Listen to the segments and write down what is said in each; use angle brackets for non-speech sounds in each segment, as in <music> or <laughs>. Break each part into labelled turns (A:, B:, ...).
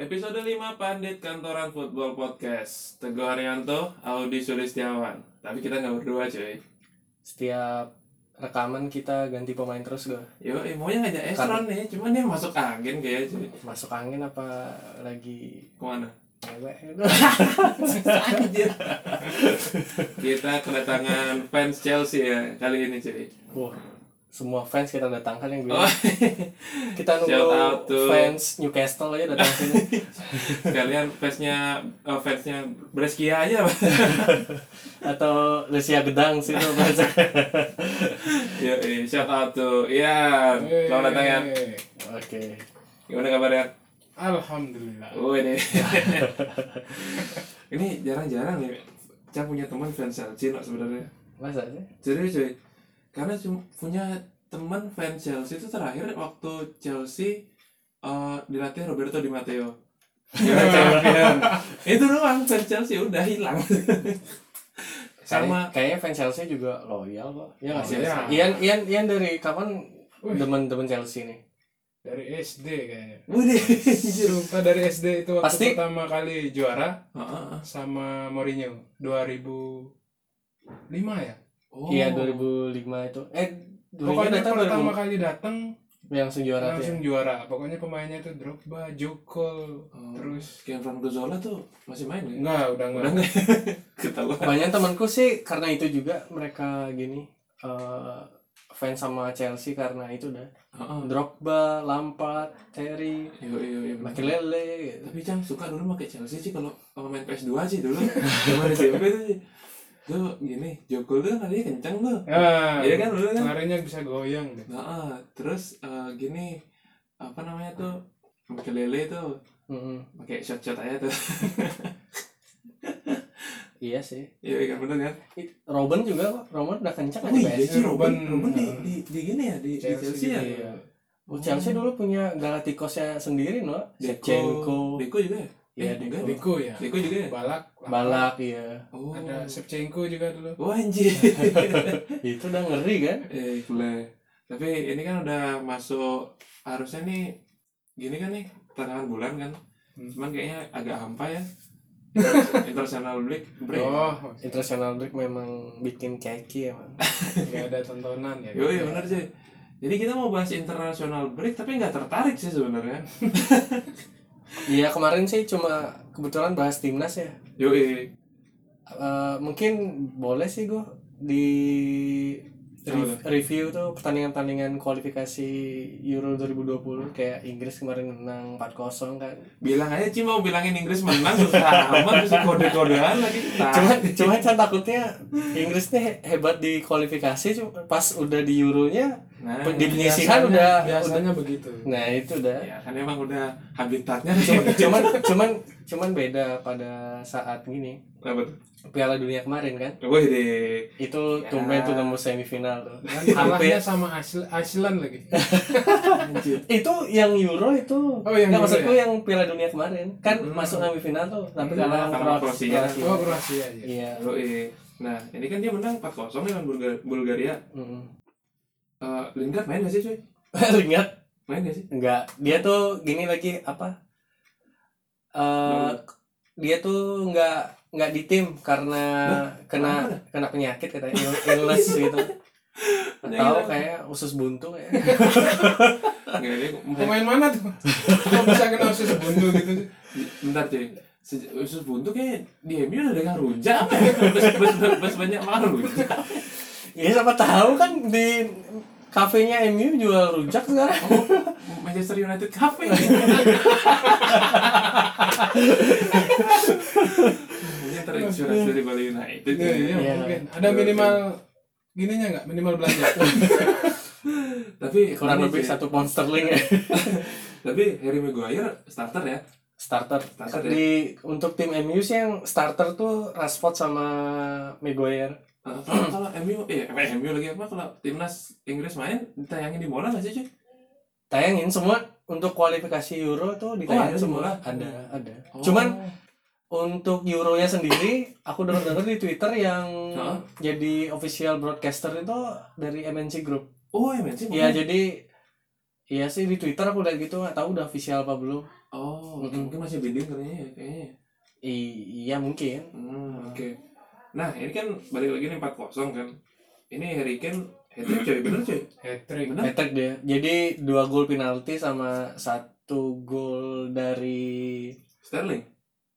A: Episode 5 Pandit Kantoran Football Podcast Teguh Haryanto, Audi Sulistiawan Tapi kita nggak berdua cuy
B: setiap rekaman kita ganti pemain terus gue
A: Yo, eh, maunya ngajak Esron nih, cuman dia masuk angin kayaknya cuy
B: masuk angin apa lagi
A: Kemana?
B: ngewe?
A: <laughs> Kita kedatangan fans Chelsea ya kali ini cuy
B: <laughs> Wah, semua fans kita datangkan yang gue
A: Oh, <laughs>
B: kita
A: shout out
B: nunggu
A: to-
B: fans Newcastle aja datang
A: <laughs>
B: sini
A: Kalian fansnya, eh, fansnya Brescia aja Pak.
B: atau Lucia Gedang sih tuh fans.
A: Yo, eh, shout out to Ian
C: Eh,
A: Selamat datang ya. Ian
C: Yeay.
B: oke
A: Gimana kabarnya?
C: Alhamdulillah.
A: Oh ini Ini jarang-jarang ya Saya punya teman fans Chelsea no, sebenarnya
B: masa sih
A: Serius cuy Karena cuma punya teman fans Chelsea itu terakhir waktu Chelsea eh, dilatih Roberto Di Matteo Juara champion Itu doang fans Chelsea udah hilang Sama
B: Kayak- kayaknya fans Chelsea juga loyal kok ya
A: Oh, Iya,
B: nggak sih
C: Loyal.
B: Ian Ian Ian dari kapan
C: Wih.
B: demen-demen Chelsea nih
C: Dari SD kayaknya.
A: Wih
C: Sumpah dari SD itu waktu
B: Pasti.
C: pertama kali juara
A: Heeh.
C: sama Mourinho 2005 ya.
A: Oh.
B: iya 2005 itu eh
C: Pokoknya
B: Mourinho datang
C: pertama
B: 2000
C: kali datang
B: yang sejuara itu ya?
C: langsung juara. Pokoknya pemainnya itu Drogba, Jokol,
A: Oh.
C: terus
A: Kevin Gozola tuh masih main ya?
C: enggak udah
A: Udah
C: enggak.
A: nggak? <laughs> Ketahuan
B: banyak temanku sih karena itu juga mereka gini eh fans sama Chelsea karena itu dah
A: Heeh.
B: Drogba, Lampard, Terry,
A: Iya iya iya bener.
B: Makelele gitu.
A: tapi Cang suka dulu pakai Chelsea sih kalau kalau main PS2 sih dulu zaman SMP tuh sih. tuh gini Joko tuh kan tadi kenceng tuh
C: Ah,
A: iya kan dulu kan
C: Larinya bisa goyang deh.
A: nah, ah, terus eh, gini apa namanya tuh pakai lele tuh
B: Mm-mm.
A: pakai shot shot aja tuh <laughs>
B: Iya sih.
A: iya kan bener kan
B: It- Robben juga kok. Robben udah kencang kan
A: oh
B: di
A: iya
B: PSG.
A: sih Robin
C: Robin.
A: Robin di, di, di gini ya di di Chelsea, ya
C: gitu ya.
B: Oh, Chelsea dulu punya Galatikosnya sendiri no.
A: Deko.
B: Shevchenko,
A: Deko juga ya Eh,
B: Iya, Deko.
A: enggak
C: Deko ya.
A: Deko juga ya
C: Balak.
B: Balak iya.
A: oh
C: Ada Shevchenko juga dulu.
A: Wah anjir <laughs>
B: Itu udah ngeri kan?
A: Eh, boleh. Tapi ini kan udah masuk harusnya nih gini kan nih pertengahan bulan kan.
C: Hmm.
A: Cuman kayaknya agak hampa ya. International break. break.
C: Oh,
B: International break memang bikin keki
A: <laughs>
B: emang.
C: nggak ada tontonan ya.
A: Yo, iya bener sih. Jadi kita mau bahas international break tapi nggak tertarik sih sebenarnya.
B: Iya kemarin sih cuma kebetulan bahas timnas ya.
A: Yo, iya.
B: Eh, mungkin boleh sih gue di
A: Boleh.
B: re- review tuh pertandingan-pertandingan kualifikasi Euro 2020 kayak Inggris kemarin menang 4-0 kan.
A: bilang aja Ci mau bilangin Inggris menang susah amat terus kode-kodean lagi. Nah,
B: Cuma <laughs> cuma kan takutnya Inggris nih hebat di kualifikasi cuma pas udah di Euronya
A: nah,
B: di penyisihan udah
C: biasanya begitu.
B: udah- nah itu udah
A: ya kan emang udah habitatnya
B: cuman <laughs> cuman cuman cuman beda pada saat gini
A: Apa tuh?
B: Piala Dunia kemarin kan
A: Wih deh.
B: itu
A: Ya.
B: tumben tuh nemu semifinal tuh
C: Dan
B: Hampir-
C: kalahnya sama Iceland, Iceland lagi.
A: Anjir.
B: itu yang Euro itu
C: Oh, yang
B: nggak
C: Euro
B: maksudku
C: ya?
B: yang Piala Dunia kemarin kan masuk semifinal tuh tapi
A: Hmm,
B: kalah
A: sama
B: sama
A: Kroasia.
B: Kroasia
C: Oh, Kroasia aja.
B: iya
A: Yoi. Nah, ini kan dia menang 4-0 lawan Bulga- Bulgaria.
B: Mm.
A: Eh, Lingard main gak sih, cuy?
B: <laughs> ingat
A: Main gak sih?
B: nggak dia tuh gini lagi apa Eh
A: Hmm.
B: dia tuh nggak nggak di tim karena kena
A: kenapa
B: kena penyakit katanya ill- illness <laughs> gitu atau
A: Penyakit apa?
B: kayak usus buntu kayak <laughs>
A: Nggak, dia main.
C: Pemain mana tuh? Kok bisa kena usus buntu gitu sih?
A: Bentar, cuy. Sejak usus buntu kayak di MU udah dengan rujak apa ya? Bes, bes, bes, bes banyak makan rujak.
B: ya siapa tahu kan di kafenya MU jual rujak sekarang
A: Oh, Manchester United Cafe. Mungkin terinspirasi dari Bali United.
C: Iya, iya,
B: Iya.
C: mungkin. Ada minimal gininya nggak? Minimal
B: <laughs>
C: belanja.
A: Tapi
B: kurang
A: ini,
B: lebih
A: cuy.
B: satu pound sterling ya
A: Tapi Harry Maguire starter ya.
B: starter,
A: Starter, ya?
B: di untuk tim MU sih yang starter tuh Rashford sama Maguire
A: Eh, kalau kalau MU eh apa ya, MU lagi apa kalau timnas Inggris main ditayangin di Mona nggak sih cuy?
B: tayangin semua untuk kualifikasi Euro tuh
A: Oh,
B: ditayangin
A: ada
B: semua
A: semua? Hmm. Oh.
B: ada ada Oh. cuman untuk Euronya sendiri aku dengar dengar di Twitter yang
A: Hah? iya,
B: jadi official broadcaster itu dari MNC Group
A: oh ya men sih
B: ya jadi Iya sih di Twitter aku lihat gitu nggak tahu udah official apa belum.
A: Oh,
B: Mm-mm.
A: mungkin masih bidding katanya ya, kayaknya. ya.
B: I- iya mungkin.
A: Hmm, oke. Nah, ini kan balik lagi nih 4-0 kan. Ini Harry Kane hat-trick coy, bener coy.
C: hat trick
A: Bener.
B: Petek dia. Jadi dua gol penalti sama satu gol dari
A: Sterling.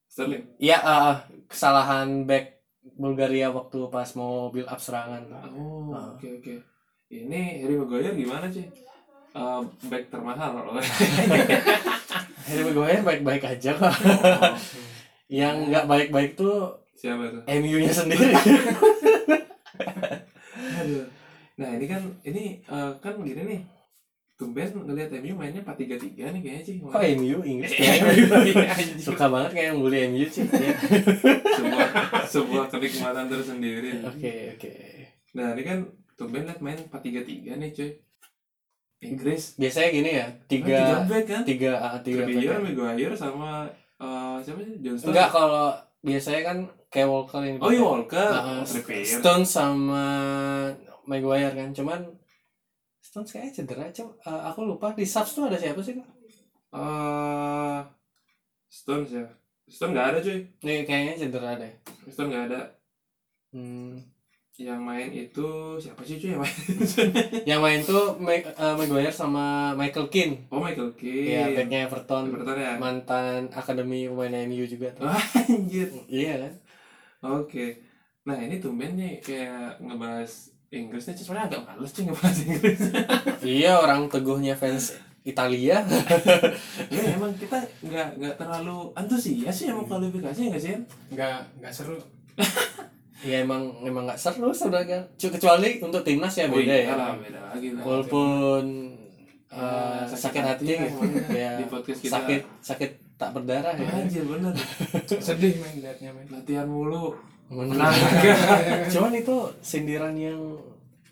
A: Sterling.
B: ya eh, kesalahan back Bulgaria waktu pas mau build up serangan.
A: Oh, oke
B: Ah.
A: oke. Ini Harry Maguire gimana sih? Eh, back termahal. Oh.
B: <laughs> Harry Maguire baik-baik aja kok. Yang
A: Ya.
B: nggak baik-baik tuh
A: Siapa tuh?
B: MU-nya
A: <laughs>
B: sendiri.
A: Aduh. Nah, ini kan ini eh, kan gini nih. Tumben ngelihat MU mainnya 4-3-3 nih kayaknya Iya, sih. <laughs>
B: Kok MU Inggris? gitu.
A: MU lagi anjing.
B: Oh, iya. Suka banget kayak bully MU sih. Ya.
A: sebuah sebuah kenikmatan tersendiri.
B: Oke oke.
A: Nah, ini kan tumben lihat main 4-3-3 nih, cuy. Inggris
B: Biasanya gini ya tiga
A: tiga back kan?
B: tiga ah, tiga
A: Trippier,
B: back.
A: Maguire sama eh, siapa sih? John Stones.
B: Enggak kalau biasanya kan kayak Walker yang
A: Oh, iya
B: dipakai.
A: Walker.
B: Nah,
A: Oh, Trippier.
B: Stone sama Maguire kan cuman Stones kayaknya cedera cuma eh, aku lupa di subs tuh ada siapa sih Kak?
A: eh Stones ya. Stone nggak ada cuy.
B: nih kayaknya cedera deh
A: Stone nggak ada.
B: hmm.
A: Yang main itu siapa sih cuy yang main?
B: yang main tuh Ma- eh, Maguire sama Michael Keane
A: oh Michael Keane.
B: Iya, backnya Everton
A: Everton ya.
B: mantan akademi pemain MU juga tuh.
A: Wah, Anjir.
B: Iya kan?
A: Oke. Nah ini tumben nih kayak ngebahas Inggrisnya cuy. sebenarnya agak males cuy ngebahas <laughs> Inggris.
B: iya orang teguhnya fans Italia.
A: ya emang kita nggak nggak terlalu antusias sih emang kualifikasi nggak sih?
C: nggak nggak seru
B: ya emang emang nggak seru saudara. Cu- Kecuali untuk timnas ya beda ya.
A: Alah, Eh, beda lagi lah.
B: Walaupun eh,
A: Ya,
B: sakit, hati,
A: lah semuanya.
B: ya,
A: di podcast kita.
B: sakit sakit tak berdarah ya.
A: Iya. Anjir bener.
C: sedih main liatnya main
A: Latihan mulu. Iya <laughs>
B: Menang.
A: Menang.
B: Cuman itu sindiran yang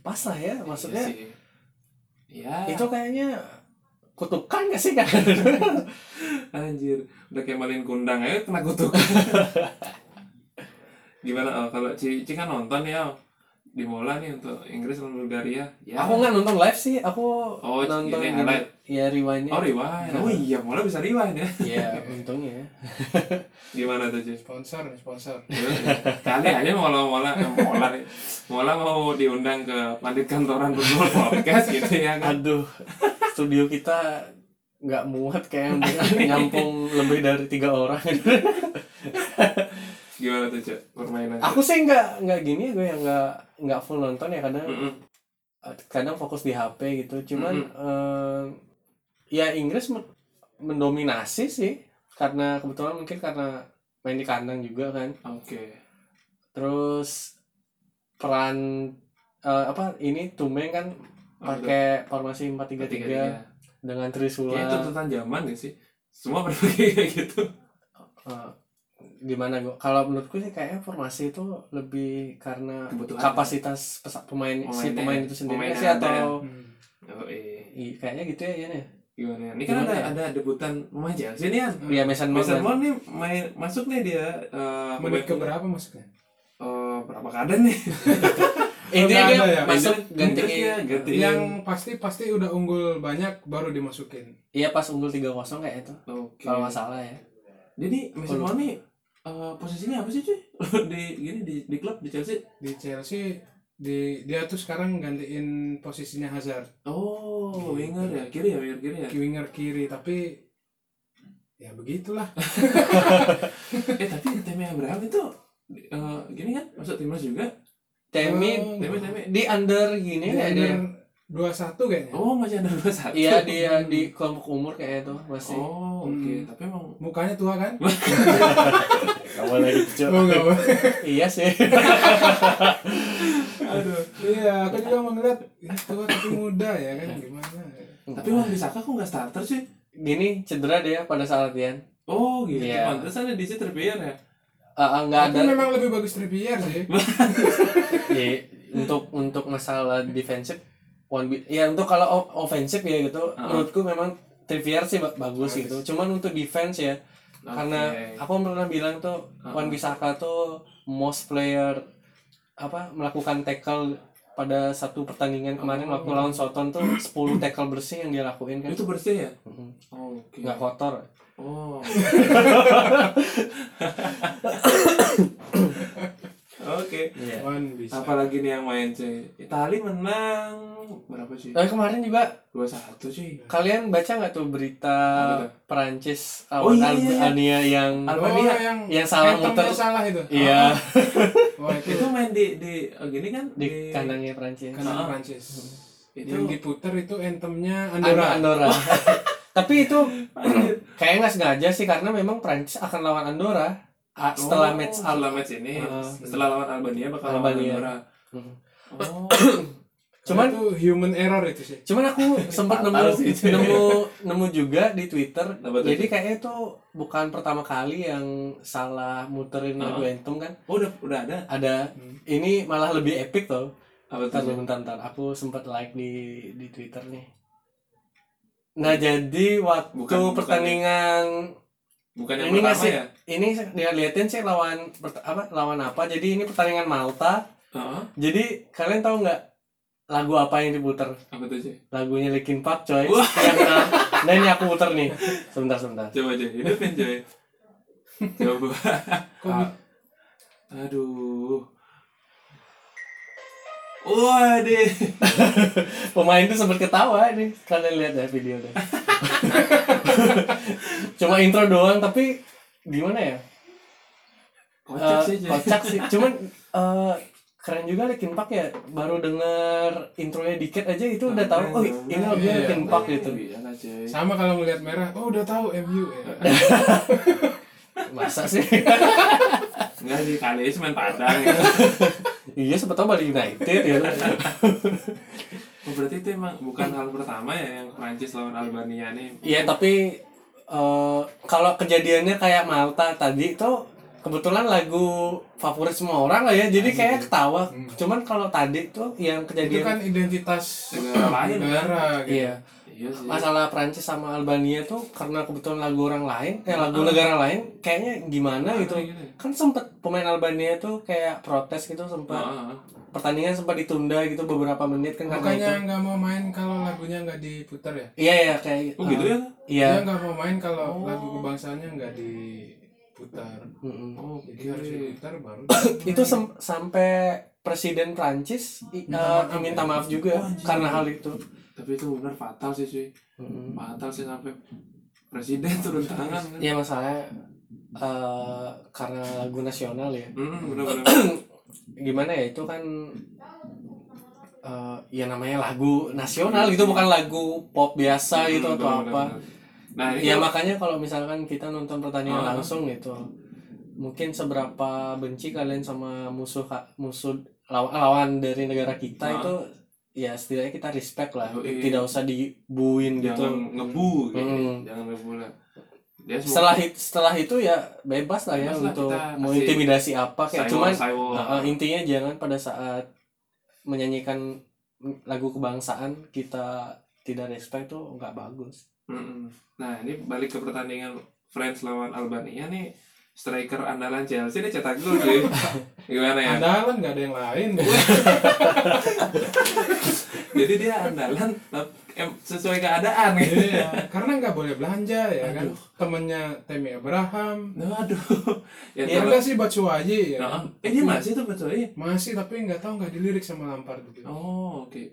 B: pas lah ya maksudnya.
A: Iya sih. Ya.
B: itu kayaknya kutukan gak sih kan?
A: <laughs> Anjir, udah kayak malin kundang aja kena <laughs> kutuk. Gimana oh, kalau Ci, Ci kan nonton ya Al? di bola nih untuk Inggris sama Bulgaria. Ya.
B: Aku nggak nonton live sih, aku
A: Oh,
B: nonton
A: ini
B: di-
A: highlight.
B: ya rewind-nya.
A: Oh rewind. Oh iya, bola bisa rewind ya.
B: Iya,
A: <laughs>
B: untungnya.
A: Gimana tuh <laughs> Ci?
C: sponsor sponsor
A: Kali aja mau mola eh, mola nih. Mola mau diundang ke pandit kantoran football podcast gitu ya kan.
B: Aduh, studio kita nggak muat kayak
A: <laughs>
B: nyampung lebih dari tiga orang.
A: Gimana tuh Ci? Permainan.
B: aku sih nggak nggak gini ya, gue yang nggak nggak full nonton ya kadang eh,
A: Mm-mm.
B: kadang fokus di HP gitu.
A: Hmm,
B: Cuman eh, ya Inggris men- mendominasi sih karena kebetulan mungkin karena main di kandang juga kan.
A: Oke.
B: terus peran eh, apa ini Tumeng kan
A: Apa tuh?
B: pakai formasi 4-3-3
A: Tiga-tiga.
B: dengan
A: Ya itu
B: Trisula
A: tuntutan zaman gak sih? Semua berpikir kayak gitu.
B: Eh, gimana gue kalau menurutku sih kayaknya formasi itu lebih karena
A: Kebutuhan.
B: kapasitas pesa- pemain si
A: Pemainnya-
B: pemain itu sendiri
A: pemain
B: sih
A: yang ada
B: atau
C: Hmm.
A: Oh, iya.
B: Ih, kayaknya gitu ya Ian ya
A: gimana ya? Ini kan
B: Gimana
A: ada
B: ya?
A: ada debutan pemain Chelsea nih kan.
B: ya Mason Mount
A: Mason
B: kan.
A: Mount nih main masuk nih dia eh
C: menit ke berapa maksudnya
A: eh, berapa kaden nih?
B: intinya
C: Nggak
B: dia
C: ada ya?
B: masuk
A: Terus dia
B: gantiin
A: gantiin.
C: yang pasti pasti udah unggul banyak baru dimasukin
B: iya pas unggul 3-0 kayak itu
A: Oke.
B: kalau nggak salah ya
A: Jadi Mason
B: Kalau-
A: Mount nih eh, posisinya apa sih cuy? <laughs> di gini di di klub di Chelsea.
C: di Chelsea di dia tuh sekarang gantiin posisinya Hazard
A: Oh, winger ya, kiri ya, winger kiri ya.
C: winger kiri tapi ya begitulah
A: eh tapi Tammy Abraham itu eh, gini kan masuk timnas juga.
B: Temi
A: Tammy Tammy.
B: di under gini
C: ini
B: ya
C: ada
B: dia
C: dua satu kayaknya
A: Oh, masih ada 21.
B: Iya dia di kelompok umur kayak itu masih.
A: <laughs> Oh, oke.
C: Hmm.
A: Tapi emang
C: mukanya tua kan
B: Kamu lagi
C: oh enggak Bang.
B: Iya sih.
A: aduh.
C: iya aku juga mau ngeliat ini tua tapi muda ya kan gimana
A: Tapi Wan Bisaka kok nggak starter sih?
B: Gini cedera dia pada saat latihan.
A: Oh gitu,
B: Iya.
A: pantesan ada di situ terpikir ya
B: Eh, eh, Nggak
C: tapi
B: ada.
C: memang lebih bagus Trippier sih
B: Iya, untuk untuk masalah defensif one bit. Ya untuk kalau o- offensive ya gitu.
A: Uh-uh.
B: Menurutku memang Trivier sih ba- bagus gitu. Cuman untuk defense ya karena aku pernah bilang tuh Wan Bisaka tuh most player apa melakukan tackle pada satu pertandingan kemarin
A: Oh.
B: waktu lawan Soton tuh 10 tackle bersih yang dia lakuin kan.
A: Itu bersih ya?
B: Mhm.
A: Oh, oke.
B: nggak kotor.
A: Oh. Oke.
B: Iya.
C: Wan bisa.
A: Apalagi nih yang main cuy. Itali menang berapa sih?
B: Eh, kemarin juga
A: 2-1 cuy.
B: kalian baca nggak tuh berita
A: Apa tuh?
B: Perancis
A: Oh, iya, iya,
B: lawan
A: iya.
B: Albania yang
A: Al- Oh,
C: Oh,
A: Albania
C: yang
B: yang salah
C: hantemnya
B: muter.
C: salah itu.
B: Iya,
C: Wah, itu
A: Itu main di di oh, gini kan
B: di kandangnya Perancis.
C: kanan
A: Ah.
C: Prancis.
A: itu
C: Yang diputer itu entemnya
B: Andorra.
C: Andorra.
A: Oh.
B: <laughs> Tapi itu
A: Anjir.
B: kayaknya nggak sengaja sih karena memang Prancis akan lawan Andorra ah, setelah
A: Oh,
B: match up.
A: setelah match ini
B: Ah.
A: setelah lawan Albania bakal lawan
B: Albania.
A: Andorra.
B: Hmm.
A: Oh.
B: Cuman
C: itu human error itu sih.
B: cuman
A: <laughs>
B: aku sempat nemu
A: Harus gitu ya.
B: nemu nemu juga di Twitter.
A: Apa tuh?
B: Jadi kayaknya itu bukan pertama kali yang salah muterin
A: Ah.
B: lagu anthem kan.
A: oh, udah udah ada.
B: Ada
C: Hmm.
B: ini malah lebih epic tuh.
A: Apa
B: Bentar,
A: tuh?
B: bentar, bentar. Aku sempat like di di Twitter nih. Nah, jadi waktu
A: Oh, iya. Bukan- bukan.
B: pertandingan
A: Bukan yang
B: Ini nggak
A: pertama
B: sih?
A: ya?
B: ini dia liatin sih lawan pert- apa lawan apa jadi ini pertandingan Malta
A: Heeh.
B: jadi kalian tahu nggak lagu apa yang diputer
A: Apa tuh cuy?
B: lagunya Linkin Park coy
A: Wah.
B: yang nah, nah ini aku puter nih sebentar sebentar
A: Coba cuy, hidupin <laughs> cuy. Coba.
C: Kok
B: Ah.
A: Aduh. Waduh.
B: pemain itu sempat ketawa ini kalian lihat ya video
A: <laughs>
B: deh cuma intro doang tapi gimana ya
A: Kocak
B: Eh,
A: sih cuy.
B: kocak sih cuman eh, keren juga Linkin Park ya baru denger intronya dikit aja itu udah tahu oh ini lagunya
C: Iya,
B: Linkin Park gitu
A: Iya lah cuy.
C: Sama kalau ngelihat merah, oh udah tahu MU. Ya.
B: <laughs> masa sih
A: Enggak sih, kali ini cuma Padang ya.
B: Iya sebetulnya Bali United ya.
A: Oh, berarti itu emang bukan hal pertama ya yang Prancis lawan Albania nih.
B: Iya tapi eh, kalau kejadiannya kayak Malta tadi itu kebetulan lagu favorit semua orang lah ya. Jadi kayak ketawa. Cuman kalau tadi tuh yang
C: Hmm. Itu
B: kejadian
C: kan identitas
A: Negara lain,
C: negara gitu.
B: iya.
A: Iya sih.
B: Masalah Prancis sama Albania tuh karena kebetulan lagu orang lain, eh lagu negara lain kayaknya gimana gitu.
A: Aneh gitu ya.
B: Kan sempet pemain Albania tuh kayak protes gitu sempat
A: Heeh.
B: pertandingan sempat ditunda gitu beberapa menit
C: Oh,
B: kan karena itu.
C: Makanya nggak mau main kalau lagunya nggak diputar ya.
B: Iya iya kayak
A: Oh gitu
B: eh,
A: ya?
B: Iya.
C: Dia nggak mau main kalau lagu kebangsaannya nggak diputar.
B: Mm-mm.
A: Oh,
C: Jadi harus diputar baru.
B: itu sem- sampai presiden Prancis i- eh,
C: maaf
B: minta
C: ya.
B: maaf juga karena hal itu.
A: Tapi itu benar fatal sih cuy. Fatal sih sampai presiden turun tangan kan.
B: Ya masalahnya eh, karena lagu nasional ya.
A: Hmm, benar-benar.
B: Gimana ya itu kan eh, ya namanya lagu nasional gitu bukan lagu pop biasa gitu
A: Hmm,
B: atau
A: benar-benar,
B: apa.
A: benar-benar. Nah, ini
B: Ya makanya kalau misalkan kita nonton pertandingan
A: Ah.
B: langsung gitu mungkin seberapa benci kalian sama musuh musuh law- lawan dari negara kita
A: Ah.
B: itu ya setidaknya kita respect lah
A: Yoi.
B: tidak usah dibuin gitu
A: jangan ngebu gitu.
B: Hmm.
A: Jangan ngebu lah. Dia semua
B: setelah it- setelah itu ya bebas lah ya
A: Bebas lah,
B: untuk
A: kita
B: mau
A: kasih
B: intimidasi apa kayak
A: Saiwo,
B: cuman
A: Saiwo.
B: uh, intinya jangan pada saat menyanyikan lagu kebangsaan kita tidak respect tuh nggak bagus
A: Mm-mm. Nah, ini balik ke pertandingan France lawan Albania nih. Striker andalan Chelsea dia cetak gol
B: <laughs>
A: cuy. Gimana ya?
C: Andalan nggak ada yang lain.
A: Jadi dia andalan tap- em, sesuai keadaan gitu. <laughs>
C: Iya, karena nggak boleh belanja ya kan. Temennya Temi Abraham.
A: Nah, Aduh. Ya,
B: Iya.
C: Ya
A: kalau-
C: enggak sih Batshuayi ya.
A: Nah,
C: kan?
A: eh dia masih tuh betul ya?
C: Masih tapi nggak tahu nggak dilirik sama Lampard gitu.
A: Oh, oke.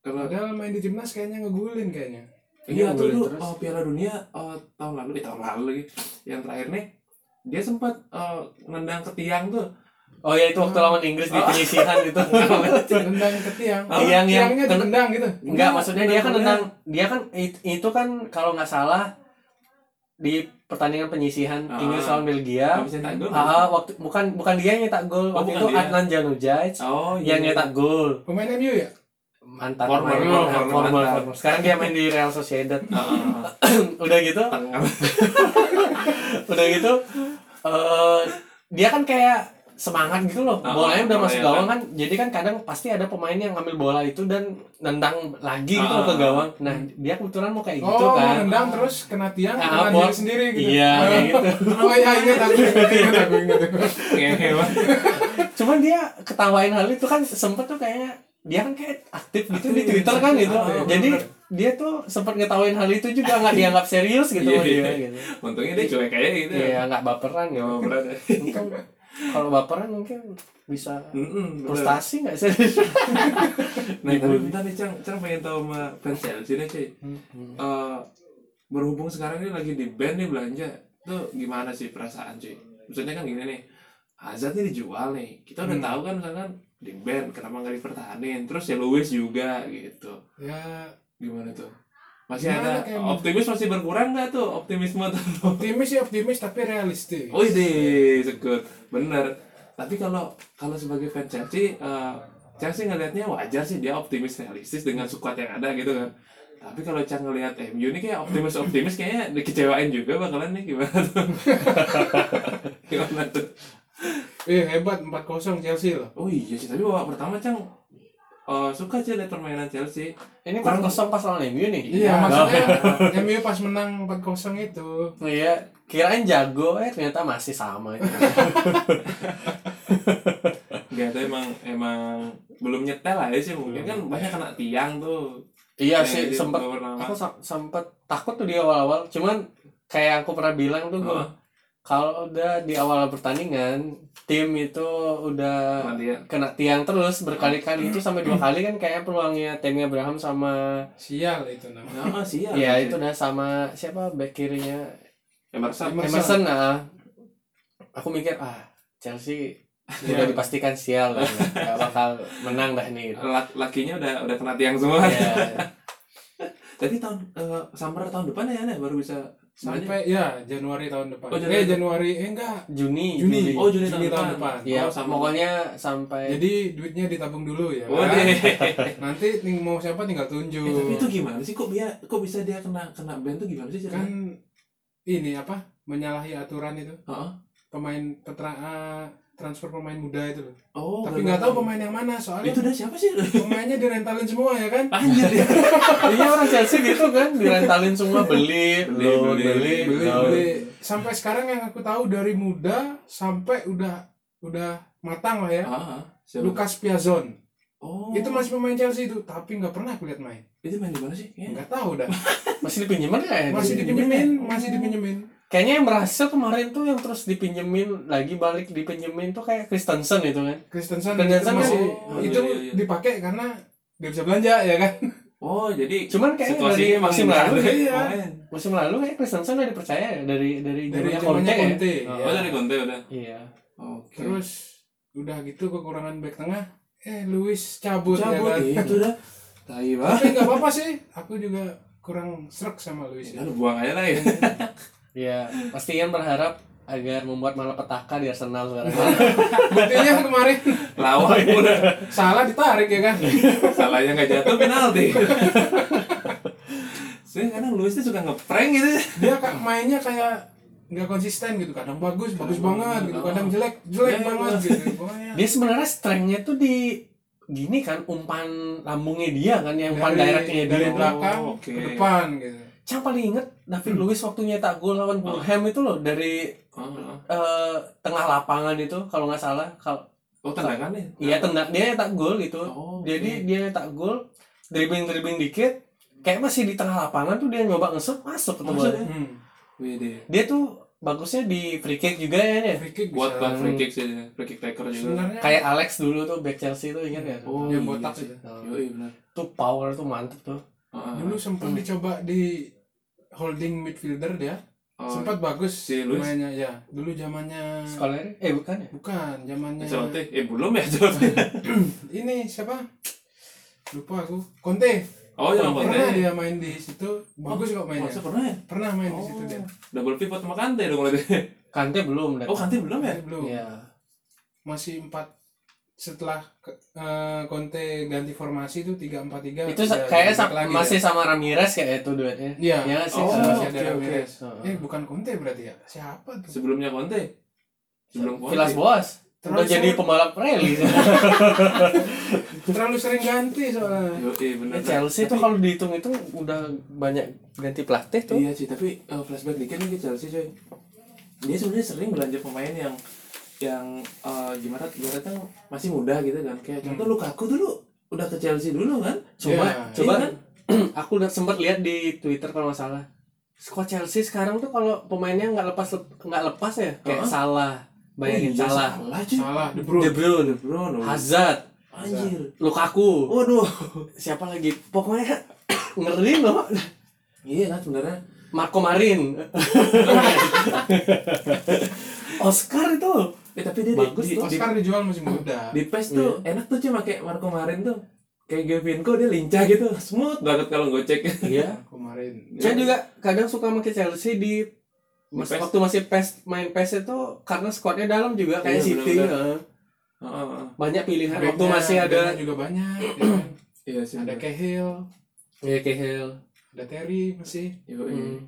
A: Kalau
C: Padahal main di timnas kayaknya ngegulin kayanya.
A: Iya
B: Iya,
A: tuh
B: boleh
A: lu
B: terus.
A: oh, Piala Dunia oh, tahun lalu, eh tahun lalu lagi yang terakhir nih dia sempat oh, nendang ke tiang tuh.
B: oh ya itu waktu lawan Inggris di
A: Oh. <laughs>
B: penyisihan gitu. itu
C: Tendang ke tiang.
B: Oh, yang- yang-
C: Tiangnya ditendang gitu.
B: Enggak, maksudnya dia kan
A: Enggak.
B: tentang dia kan it- itu kan kalau nggak salah di pertandingan penyisihan
A: Ah.
B: Inggris lawan Belgia.
A: Habis nyetak gol.
B: Ah, waktu bukan bukan dia yang nyetak gol.
A: Oh,
B: waktu
A: bukan
B: itu
A: dia.
B: Adnan Januzaj
A: Oh,
B: yang nyetak gol.
C: Pemain MU ya?
B: Mantan
A: Former,
B: pemain,
A: former,
B: former,
A: former,
B: former.
A: mantan.
B: Sekarang dia main di Real Sociedad. <laughs>
A: Heeh.
B: udah gitu,
A: Tengah.
B: udah gitu eh, dia kan kayak semangat gitu loh.
A: Ah,
B: Bolanya
A: bolanya
B: udah masuk gawang kan. Jadi kan kadang pasti ada pemain yang ngambil bola itu dan nendang lagi gitu
A: Ah.
B: ke gawang. Nah, dia kebetulan mau kayak gitu
C: oh,
B: kan.
C: nendang terus kena tiang,
B: Ah,
C: kena
B: buat-
C: diri sendiri gitu.
B: Iya, kayak gitu.
C: Oh iya, ingat aku, ingat, ingat aku, ingat aku.
A: Ngehe banget.
B: Cuman dia ketawain hal itu kan sempet tuh kayaknya dia kan kayak aktif gitu
A: Aktif,
B: di Twitter kan gitu.
A: ah,
B: Jadi
A: bener.
B: dia tuh sempat ngetawain hal itu juga nggak dianggap serius gitu
A: Iya,
B: sama dia
A: iya.
B: gitu.
A: untungnya dia cuek aja gitu ya
B: Iya, nggak baperan ya.
A: nggak berat ya
B: Untung kalau baperan mungkin bisa
A: Mm-mm, bener.
B: frustasi nggak sih?
A: nah tapi bentar nih Cang Cang pengen tahu sama fans Chelsea deh cuy Eh, berhubung sekarang ini lagi di band nih belanja tuh gimana sih perasaan cuy maksudnya kan gini nih Hazard nih dijual nih kita udah
B: Mm.
A: tahu kan misalkan di band kenapa nggak dipertahanin terus ya Luis juga gitu
C: ya
A: gimana tuh masih
C: Gimana
A: ada
C: kayaknya?
A: optimis masih berkurang nggak tuh optimisme <laughs> tuh
C: optimis ya optimis tapi realistis
A: oh ini sekut bener tapi kalau kalau sebagai fan Chelsea eh, Chelsea ngelihatnya wajar sih dia optimis realistis dengan squad yang ada gitu kan tapi kalau Chang ngelihat MU ini kayak optimis optimis kayaknya dikecewain juga bakalan nih gimana tuh <laughs> gimana tuh
C: eh hebat 4-0 Chelsea loh
A: oh iya sih tapi babak pertama Chang eh, suka sih lihat permainan Chelsea
B: Ini pas kosong pas lawan MU nih.
A: Iya.
C: Iya, maksudnya MU pas menang 4-0 itu.
B: Oh Iya, kirain jago eh ternyata masih sama. Gitu.
A: Gak ada emang emang belum nyetel aja sih mungkin kan banyak kena tiang tuh.
B: iya
A: Kayak
B: sih,
A: di
B: sempet
A: babak pertama.
B: aku sem- sempet takut tuh di awal-awal. Cuman kayak aku pernah bilang tuh gua,
A: Heeh.
B: kalau udah di awal pertandingan tim itu udah
A: Kena tiang.
B: kena tiang terus berkali-kali itu sampai dua kali kan kayaknya peluangnya Tammy Abraham sama
C: Sial itu namanya.
A: Nah, sih ya.
C: iya.
B: ya itu udah sama siapa back kirinya
A: Emerson.
C: Emerson.
B: Emerson nah aku mikir ah Chelsea udah dipastikan sial lah <laughs> gak bakal menang dah nih gitu.
A: Lak- lakinya udah udah kena tiang semua. <laughs>
B: ya,
A: Tapi tahun eh, summer tahun depan ya Ana, baru bisa soalnya-
C: Sampai ya Januari tahun depan.
A: Oh, Januari.
C: eh Januari eh enggak.
B: Juni
C: Juni.
A: Oh Juni,
C: Juni tahun
A: tahun depan.
C: depan.
B: ya
A: oh, sama.
B: Iya. pokoknya sampai
C: Jadi duitnya ditabung dulu ya.
A: Oh,
C: kan?
B: <laughs>
A: deh.
C: Nanti nih mau siapa tinggal tunjuk.
A: Eh, tapi itu gimana sih kok dia kok bisa dia kena kena band tuh gimana sih
C: kan
A: ceritanya?
C: ini apa? Menyalahi aturan itu.
A: Heeh.
C: Pemain petra ah, transfer pemain muda itu loh.
A: Oh,
C: tapi
A: bener.
C: nggak tahu pemain yang mana soalnya
A: Itu udah siapa
C: <laughs>
A: sih?
C: pemainnya direntalin semua ya kan?
A: Anjir <laughs> ya.
B: <laughs> iya orang Chelsea gitu kan direntalin semua beli
A: Beli,
B: loan,
A: beli,
B: beli
C: Beli,
B: loan.
C: beli. Sampai sekarang yang aku tahu dari muda sampai udah udah matang lah ya.
A: Heeh. siapa?
C: Lukas Piazon.
A: Oh.
C: Itu masih pemain Chelsea itu, tapi nggak pernah aku lihat main.
A: itu main di mana sih? Kayaknya
C: Nggak tahu dah.
B: masih dipinjemin nggak ya
C: Masih
B: dia?
C: dipinjemin, masih dipinjemin.
B: kayaknya yang berhasil kemarin tuh yang terus dipinjemin lagi balik dipinjemin tuh kayak Kristensen itu kan
C: Kristensen itu
B: Kristensen
A: kan-
C: masih itu
A: Oh, iya, iya, iya.
C: dipakai karena nggak bisa belanja ya kan?
A: Oh, jadi
B: cuman kayaknya dari
A: situasinya Oh, emang
B: musim
A: nggak
B: lalu ya.
A: ada
C: iya.
A: yang main.
B: musim lalu kayak Kristensen udah dipercaya ya? dari dari
C: Dari
B: zamannya Conte
C: zamannya
B: ya?
C: Conte,
B: Oh,
A: Oh, dari Conte udah.
B: iya
A: Oke.
C: Terus udah gitu kekurangan back tengah, eh Luis cabut,
A: cabut
C: ya kan?
A: itu udah. Tai banget.
C: Tapi nggak apa-apa sih, aku juga kurang serak sama Luis.
A: <laughs> Ya, lu buang aja lah ya.
B: iya pasti Ian berharap agar membuat malapetaka di Arsenal sekarang
C: Buktinya kemarin <laughs>
A: Lawan udah.
C: salah ditarik ya kan?
A: Salahnya nggak jatuh penalti. Sebenarnya kadang Luis tuh suka ngeprank gitu.
C: Dia kak mainnya kayak nggak konsisten gitu kadang bagus bagus banget gitu kadang jelek
A: oh. Iya,
C: jelek
A: iya,
C: banget
A: iya.
C: gitu pokoknya
B: dia sebenarnya strengthnya tuh di gini kan umpan lambungnya dia kan yang umpan directnya
C: dari
B: dia
C: belakang
A: Oh, oke.
C: ke depan gitu
B: Cang paling inget David Luiz waktu nyetak gol lawan Fulham itu loh dari
A: Oh,
B: eh, tengah lapangan itu kalau nggak salah kalau
A: oh tendangan nih.
B: Iya tendang dia tak gol gitu.
A: Oh, oke.
B: Jadi dia tak gol, dribbling dribbling dikit, kayak masih di tengah lapangan tuh dia nyoba ngesut masuk ke
A: Masuk
B: bola.
A: ya?
C: hmm.
A: Wih deh.
B: Dia tuh bagusnya di free kick juga ya nih.
C: free kick
A: Buat
C: bisa.
A: buat free kick sih, dia. free kick taker juga.
C: sebenarnya
B: Kayak Alex dulu tuh back Chelsea tuh ingat ya.
A: Oh,
C: Yang
A: iya
C: botak
A: sih.
C: itu.
B: Nah,
A: Yoi Oh, benar.
B: tuh power tuh mantep tuh.
A: Heeh.
C: dulu sempat
B: Hmm.
C: dicoba di holding midfielder dia
A: Oh,
C: sempat bagus
A: si Luis?
C: mainnya ya dulu zamannya
B: Sekolahnya eh bukan ya?
C: bukan zamannya
A: Ancelotti, eh belum ya Ancelotti.
C: ini siapa lupa aku Conte
A: Oh, yang Conte.
C: pernah dia main di situ bagus kok mainnya
A: Masa pernah ya?
C: pernah main di
A: Oh.
C: situ dia
A: Double pivot sama Kante dong berarti.
B: Kante belum
A: Oh,
B: datang.
A: Kante belum ya?
C: belum
B: Iya.
C: masih empat setelah ke- eh, Conte ganti formasi itu tiga empat
A: Iya,
C: tiga
B: Itu sa- kayaknya sa-
C: lagi
B: masih
C: ya.
B: sama Ramirez kayak itu duetnya.
C: Iya.
B: Ya nggak sih.
A: Oh,
B: Sama
C: masih
B: si-
A: oke,
C: ada
A: oke.
C: Ramirez.
B: Heeh.
C: Eh bukan Conte berarti ya? Siapa tuh?
A: Sebelumnya Conte. Sebelum ya. Conte.
B: Vilas Boas. Udah
C: Terlalu
B: jadi
C: sering-
B: pembalap rally.
A: <laughs>
C: Terlalu sering ganti soalnya.
A: Yoi, benar.
B: Eh, Chelsea tuh kalau dihitung itu udah banyak ganti pelatih tuh.
A: Iya sih, tapi eh, flashback dikit nih ke Chelsea coy. Dia sebenarnya sering belanja pemain yang yang eh, gimana ibaratnya masih muda gitu kan. Kayak contoh Lukaku dulu udah ke Chelsea dulu kan?
B: Hmm. Coba,
C: Ya.
B: coba.
A: Iya kan?
B: <clears throat> aku udah sempat lihat di Twitter kalau nggak salah. Squad Chelsea sekarang tuh kalau pemainnya nggak lepas nggak lepas ya, kayak
A: Heeh.
B: salah,
A: Oh
B: bayangin
A: iya,
B: salah.
A: Salah cuy.
C: Salah, De
B: De
C: Bruyne.
B: Bruyne,
A: De Bruyne, oh.
B: Hazard,
A: Anjir.
B: Lukaku,
A: Waduh.
B: siapa lagi? Pokoknya <coughs> ngeri loh.
A: Iya kan sebenarnya.
B: Marco Marin, <laughs> Oscar itu.
A: Eh, tapi dia
B: Bagus Iya.
A: di,
B: tuh.
A: di,
C: Oscar dijual musim muda.
A: di PES tuh enak tuh cuma kayak Marco Marin tuh. Kayak Giovinco dia lincah gitu. Smooth banget kalau <laughs> gocek.
B: Iya.
C: Kemarin.
B: Saya juga kadang suka pakai Chelsea di mas,
A: PES.
B: waktu masih PES main PES itu karena squadnya dalam juga kayak
A: Iya,
B: City
A: benar-benar.
B: heeh.
A: Heeh, heeh.
B: banyak pilihan waktu
C: Backnya-
B: masih ada
C: backnya juga banyak. ya kan?
A: Iya sih.
C: ada
A: bener.
C: Cahill,
B: ya Cahill
C: ada Terry masih.
A: Yoi.
B: Hmm.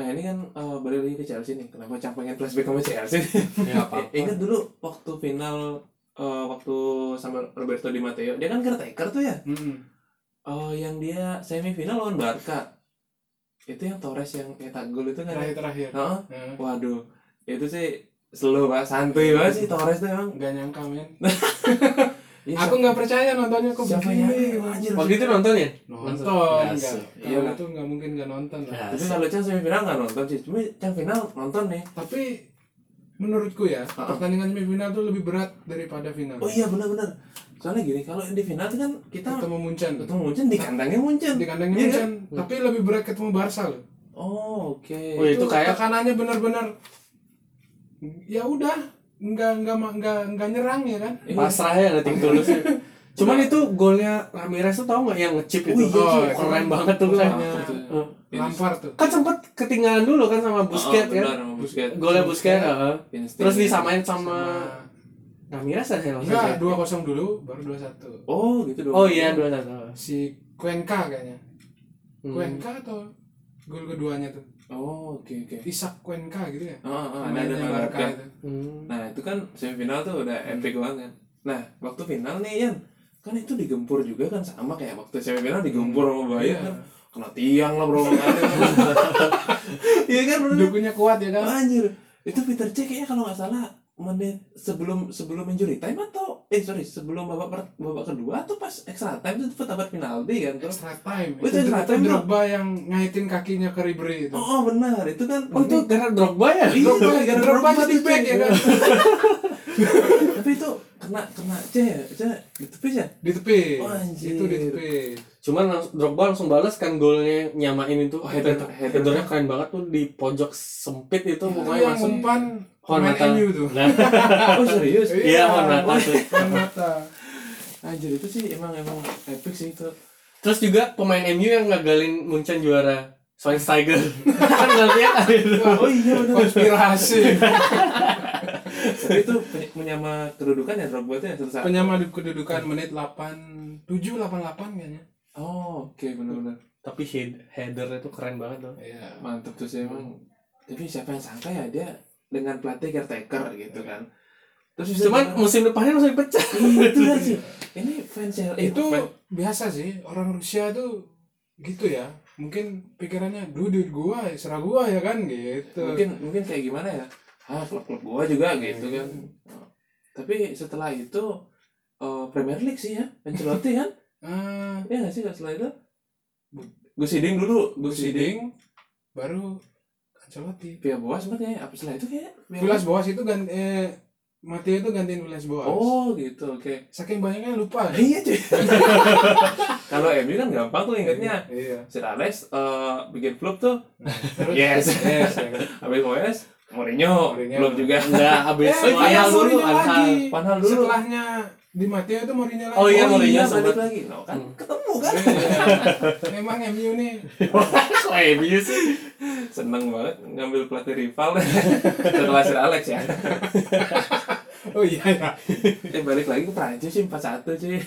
A: Nah ini kan eh, balik lagi ke Chelsea nih. Kenapa Cang pengen flashback sama Chelsea?
B: ya apa
A: Eh, Ingat dulu waktu final eh, waktu sama Roberto Di Matteo, dia kan caretaker tuh ya.
C: Mm-mm.
A: Oh, yang dia semifinal lawan Barca. Itu yang Torres yang cetak gol itu kan.
C: Terakhir-terakhir.
B: Oh.
A: Heeh.
C: Nah,
A: Waduh, itu sih slow banget, santuy banget sih Torres tuh emang.
C: nggak nyangka men.
B: Nah,
A: Iya,
C: Aku nggak percaya nontonnya kok
A: siapa
C: begini.
A: yang anjir.
B: waktu itu nonton ya
C: Nonton.
B: Biasa.
C: nggak.
A: Iya,
C: Kalau
A: nggak.
C: itu nggak mungkin nggak nonton lah.
B: Nah,
A: Tapi kalau Cang semifinal nggak nonton sih, cuma Cang final nonton nih.
C: Tapi menurutku ya
A: Heeh.
C: pertandingan semifinal tuh lebih berat daripada final.
A: Oh iya benar-benar. Soalnya gini, kalau di final tuh kan kita
C: Ketemu Munchen.
A: ketemu Munchen di kandangnya Munchen.
C: Di kandangnya
A: Iya kan?
C: Munchen. Tapi lebih berat ketemu Barca loh.
A: Oh, oke.
B: Oh, iya. Itu kayak-
C: tekanannya benar-benar ya udah nggak nggak ma- nggak nggak nyerang ya kan.
B: pasrah ya ngeting <laughs> tulusnya cuman itu golnya Ramirez tuh tau nggak yang ngechip itu
A: Oh, iya,
B: Oh,
C: iya.
B: keren banget tuh golnya.
C: Keren.
A: Oh.
B: Heeh.
C: Lampar tuh.
B: kan sempet ketinggalan dulu kan sama
A: Busket
B: Busquets kan
A: Oh, sama Busket.
B: golnya Busquets heeh.
A: Insting.
B: terus disamain
C: Sama
B: sama Ramirez kan yang langsung
C: enggak
B: ya?
C: 2-0 dulu baru 2-1.
A: Oh, gitu dong.
B: oh iya dua satu
C: Si Cuenca kayaknya.
B: Hmm.
C: Cuenca atau gol keduanya tuh.
A: Oh, oke oke.
C: Isak Cuenca gitu ya.
A: Heeh, heeh, Ah, ada ada
C: Pemainnya Barca
A: Barca.
C: itu.
B: Hmm.
A: Nah, itu kan semifinal tuh udah epic banget kan. Nah, waktu final nih Yan, kan itu digempur juga kan sama kayak waktu semifinal
B: Hmm.
A: digempur sama Bayern
C: Iya.
A: kan. Kena tiang lah bro
B: <laughs>
A: Iya kan bener.
C: Dukunya kuat ya kan.
A: Anjir. Itu Peter Cech kayaknya kalau nggak salah menit sebelum sebelum injury time atau eh sorry sebelum babak per- babak kedua atau pas extra time itu dapat dapat penalti kan terus
C: Extra time.
A: Oh, itu extra
C: Itu
A: time tuh.
C: Drogba yang ngaitin kakinya ke Ribery itu.
A: oh, oh benar itu kan
B: oh <laughs> itu gara Drogba ya
A: Iya,
C: Drogba,
A: gara-gara
C: Drogba
A: Drogba
C: jadi
A: tuh,
C: back ya kan.
A: <laughs>
C: <laughs>
A: tapi itu kena kena C ya C itu ya
C: Di tepi.
A: Oh, anjir.
C: Itu di tepi.
B: Cuman lang- Drogba langsung balas kan golnya nyamain itu.
A: Oh, header- header.
B: headernya keren banget tuh di pojok sempit itu
C: Itu
B: pokoknya
C: yang
B: masuk.
C: umpan iya, pemain
B: Hormatan.
C: MU tuh.
B: Nah,
A: oh serius
B: Iya, Hormata tuh.
C: Hormata.
A: anjir itu sih emang emang epic sih itu
B: Terus juga pemain MU yang ngagalin Munchen juara. Schweinsteiger. <laughs> kan nggak lihat ada itu.
A: oh iya benar <laughs>
C: Konspirasi.
A: tapi itu peny- menyama kedudukan ya Drogba itu ya satu saat
C: Penyama di kedudukan menit 8 7 88 kayaknya.
A: oh oke benar-benar
B: Tapi head headernya tuh keren banget tuh.
C: Iya.
A: mantap tuh sih emang tapi siapa yang sangka ya dia dengan pelatih caretaker gitu kan terus bisa
B: Cuman musim depannya langsung dipecah.
A: itu kan sih ini fans yang
C: itu biasa sih orang Rusia tuh gitu ya mungkin pikirannya duh duit gua serah gua ya kan gitu
A: mungkin mungkin kayak gimana ya ah klub-klub gua juga gitu kan tapi setelah itu eh, Premier League sih ya Ancelotti kan
C: Ah,
A: ya nggak sih nggak setelah itu Gus Hiding dulu Gus Hiding
C: Siding baru Ancelotti
A: Via Boas sempat ya apa setelah itu kayak Via
C: Vilas Boas itu ganti eh, Mateo itu gantiin Vilas Boas
A: oh gitu oke
C: <laughs> saking banyaknya lupa
A: Ah, iya cuy <laughs> kalau MU kan gampang tuh ingatnya
C: iya
A: Sir Alex eh, bikin flop tuh
C: Terus-
A: Yes.
C: yes ya kan.
A: habis OS Mourinho,
C: Mourinho.
A: flop juga
B: Enggak habis
C: eh
B: Panhal
C: Vilas
B: dulu,
C: Mourinho
B: Panhal. <laughs>
C: lagi
A: Panhal dulu.
C: setelahnya di Mateo itu Mourinho lagi
B: Oh iya,
A: Oh
B: Mourinho
A: balik
B: sempat.
A: lagi no kan
B: Hmm.
A: ketemu kan
C: Iya. Memang MU nih
B: Kok MU sih?
A: seneng banget ngambil pelatih rival <laughs> setelah Sir Alex ya
C: Oh iya ya
A: Eh balik lagi ke Prancis sih 4-1 cuy.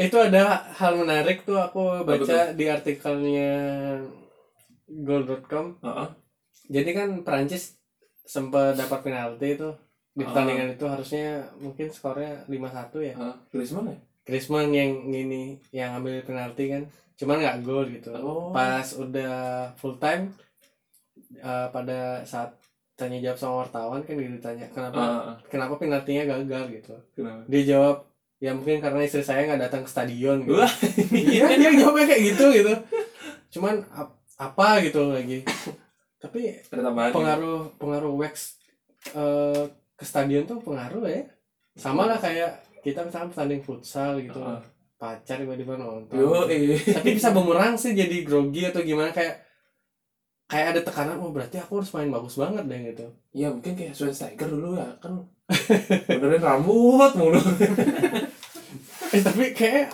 B: Nah, itu ada hal menarik tuh aku
A: Apa
B: baca di artikelnya goal.com
A: Heeh.
B: jadi kan Perancis sempat dapat penalti itu di pertandingan itu harusnya mungkin skornya 5-1 ya
A: Heeh. Griezmann ya?
B: Griezmann yang gini yang ambil penalti kan cuman nggak gol gitu
A: Oh.
B: pas udah full time eh, pada saat tanya
A: Ah.
B: jawab sama wartawan kan gitu ditanya kenapa
A: Heeh.
B: kenapa penaltinya gagal gitu
A: Kenapa?
B: dia jawab ya mungkin karena istri saya nggak datang ke stadion gitu
A: Wah,
B: <laughs> Iya, dia jawabnya kayak gitu gitu cuman ap- apa gitu lagi tapi
A: pertambahan
B: pengaruh pengaruh wax eh, ke stadion tuh pengaruh ya sama lah kayak kita misalnya pertanding futsal gitu
A: Heeh.
B: pacar tiba-tiba nonton
A: Ah. yo eh
B: tapi bisa bumerang sih jadi grogi atau gimana kayak kayak ada tekanan oh berarti aku harus main bagus banget deh gitu
A: ya mungkin kayak Schweinsteiger dulu ya kan benerin rambut mulu
B: eh, tapi kayak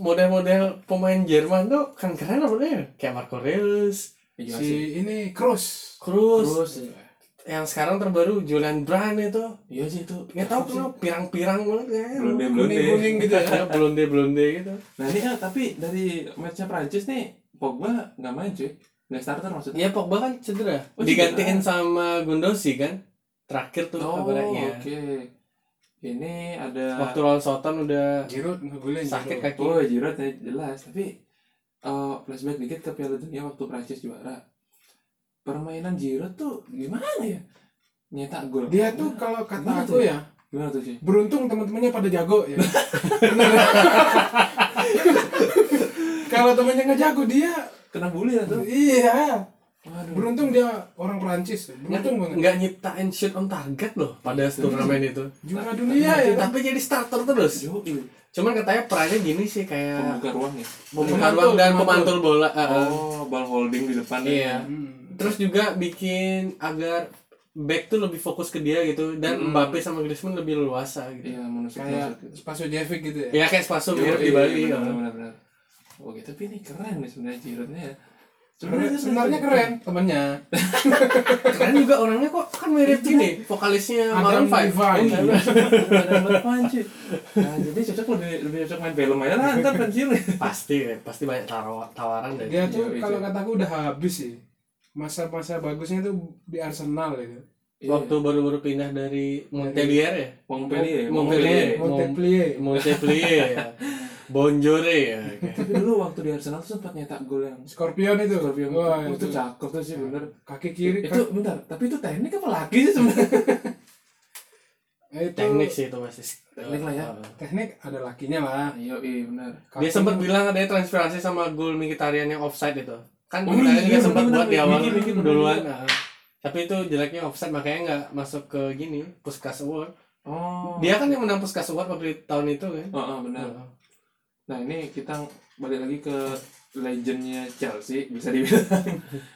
B: model-model pemain Jerman tuh kan keren apa ya kayak Marco Reus,
A: Iya
C: si
A: sih.
C: ini Kroos
B: Kroos,
A: terus
B: yang sekarang terbaru Julian Brand itu
A: iya sih itu
B: nggak tahu kenapa pirang-pirang banget ya
A: Belum deh, belum
C: kuning kuning <laughs> gitu ya
B: blonde blonde gitu
A: Nah ini ya, tapi dari matchnya Prancis nih Pogba nggak main cuy, nggak starter maksudnya.
B: ya Pogba kan cedera
A: Oh, cedera.
B: digantiin sama Gundosi kan terakhir tuh
A: Oh oke.
B: kabarnya
A: Ini ada
B: waktu lawan Soton udah
C: Giroud ngegulin
B: sakit
C: Giroud.
B: kaki
A: oh Giroud ya jelas, tapi eh, flashback dikit ke Piala Dunia waktu Prancis juara. Permainan Giroud tuh gimana ya? Nyetak gol.
C: dia tuh kalau kata
A: gitu. Gimana
C: aku
A: tuh?
C: ya
A: gimana tuh cuy?
C: beruntung teman-temannya pada jago ya Bener. <laughs> kalau temannya nggak jago dia
A: Kena bully lah tuh.
C: iya
A: Waduh.
C: beruntung dia orang Perancis beruntung banget
B: nggak nyiptain shoot on target loh pada turnamen itu
C: juara dunia ya
B: tapi jadi starter terus
A: Yoi.
B: cuman katanya perannya gini sih kayak
A: Pembuka ruang ya.
B: pembuka ruang dan
C: Pemantul,
B: pemantul bola eh, eh.
A: Oh, ball holding di depan ya.
B: iya
C: Hmm.
B: terus juga bikin agar back tuh lebih fokus ke dia gitu dan
A: Mm.
B: Mbappe sama Griezmann lebih leluasa gitu
A: Iya, menusuk
C: kayak Spaso Jevic gitu ya
B: ya kayak Spaso
A: Iya,
B: mirip di
A: iya,
B: Bali
A: iya,
B: kan.
A: benar, benar, benar. Oke, tapi ini keren nih sebenarnya Giroudnya. ya.
C: Sebenarnya- sebenarnya keren temennya
B: keren juga orangnya kok kan mirip gini vokalisnya Iya,
C: Adam
B: Maroon 5
A: Oh,
C: Levine.
B: Iya.
A: Benar-benar berapaan, cuy. Nah, jadi cocok lebih lebih cocok main film aja lah ntar pensiun.
B: pasti ya, pasti banyak taro- tawaran dari
C: dia tuh
A: Iya,
C: kalau
A: iya.
C: kataku udah habis sih masa-masa bagusnya tuh di Arsenal
B: Iya,
C: gitu
B: waktu baru-baru pindah dari Montpellier ya
A: Montpellier,
B: Mont- Montpellier. Iya,
C: Montpellier
B: Montpellier ya Bonjore ya kayak.
A: Tapi dulu waktu di Arsenal tuh sempat nyetak gol yang
C: Scorpion itu
A: Scorpion.
C: Wah,
A: Oh,
C: itu
A: itu cakep tuh sih bener.
C: kaki kiri
A: Itu bentar, tapi itu teknik apa lagi sih sebenarnya?
C: kaki- eh, itu
B: teknik sih itu masih
A: Teknik lah ya.
C: teknik ada lakinya lah
A: Ayo, iya bener.
B: dia
C: Kaki-
B: sempat bilang ada transpirasi sama gol Mkhitaryan yang offside itu kan
A: Oh,
B: Mkhitaryan
A: iya,
B: juga sempat
A: bener-bener.
B: buat di awal
A: Bikin, bikin,
B: duluan nah. tapi itu jeleknya offside makanya nggak masuk ke gini Puskas Award
A: Oh.
B: dia kan yang menang Puskas Award waktu di tahun itu kan
A: Oh, oh, benar.
B: Nah.
A: Nah ini kita balik lagi ke legendnya Chelsea bisa dibilang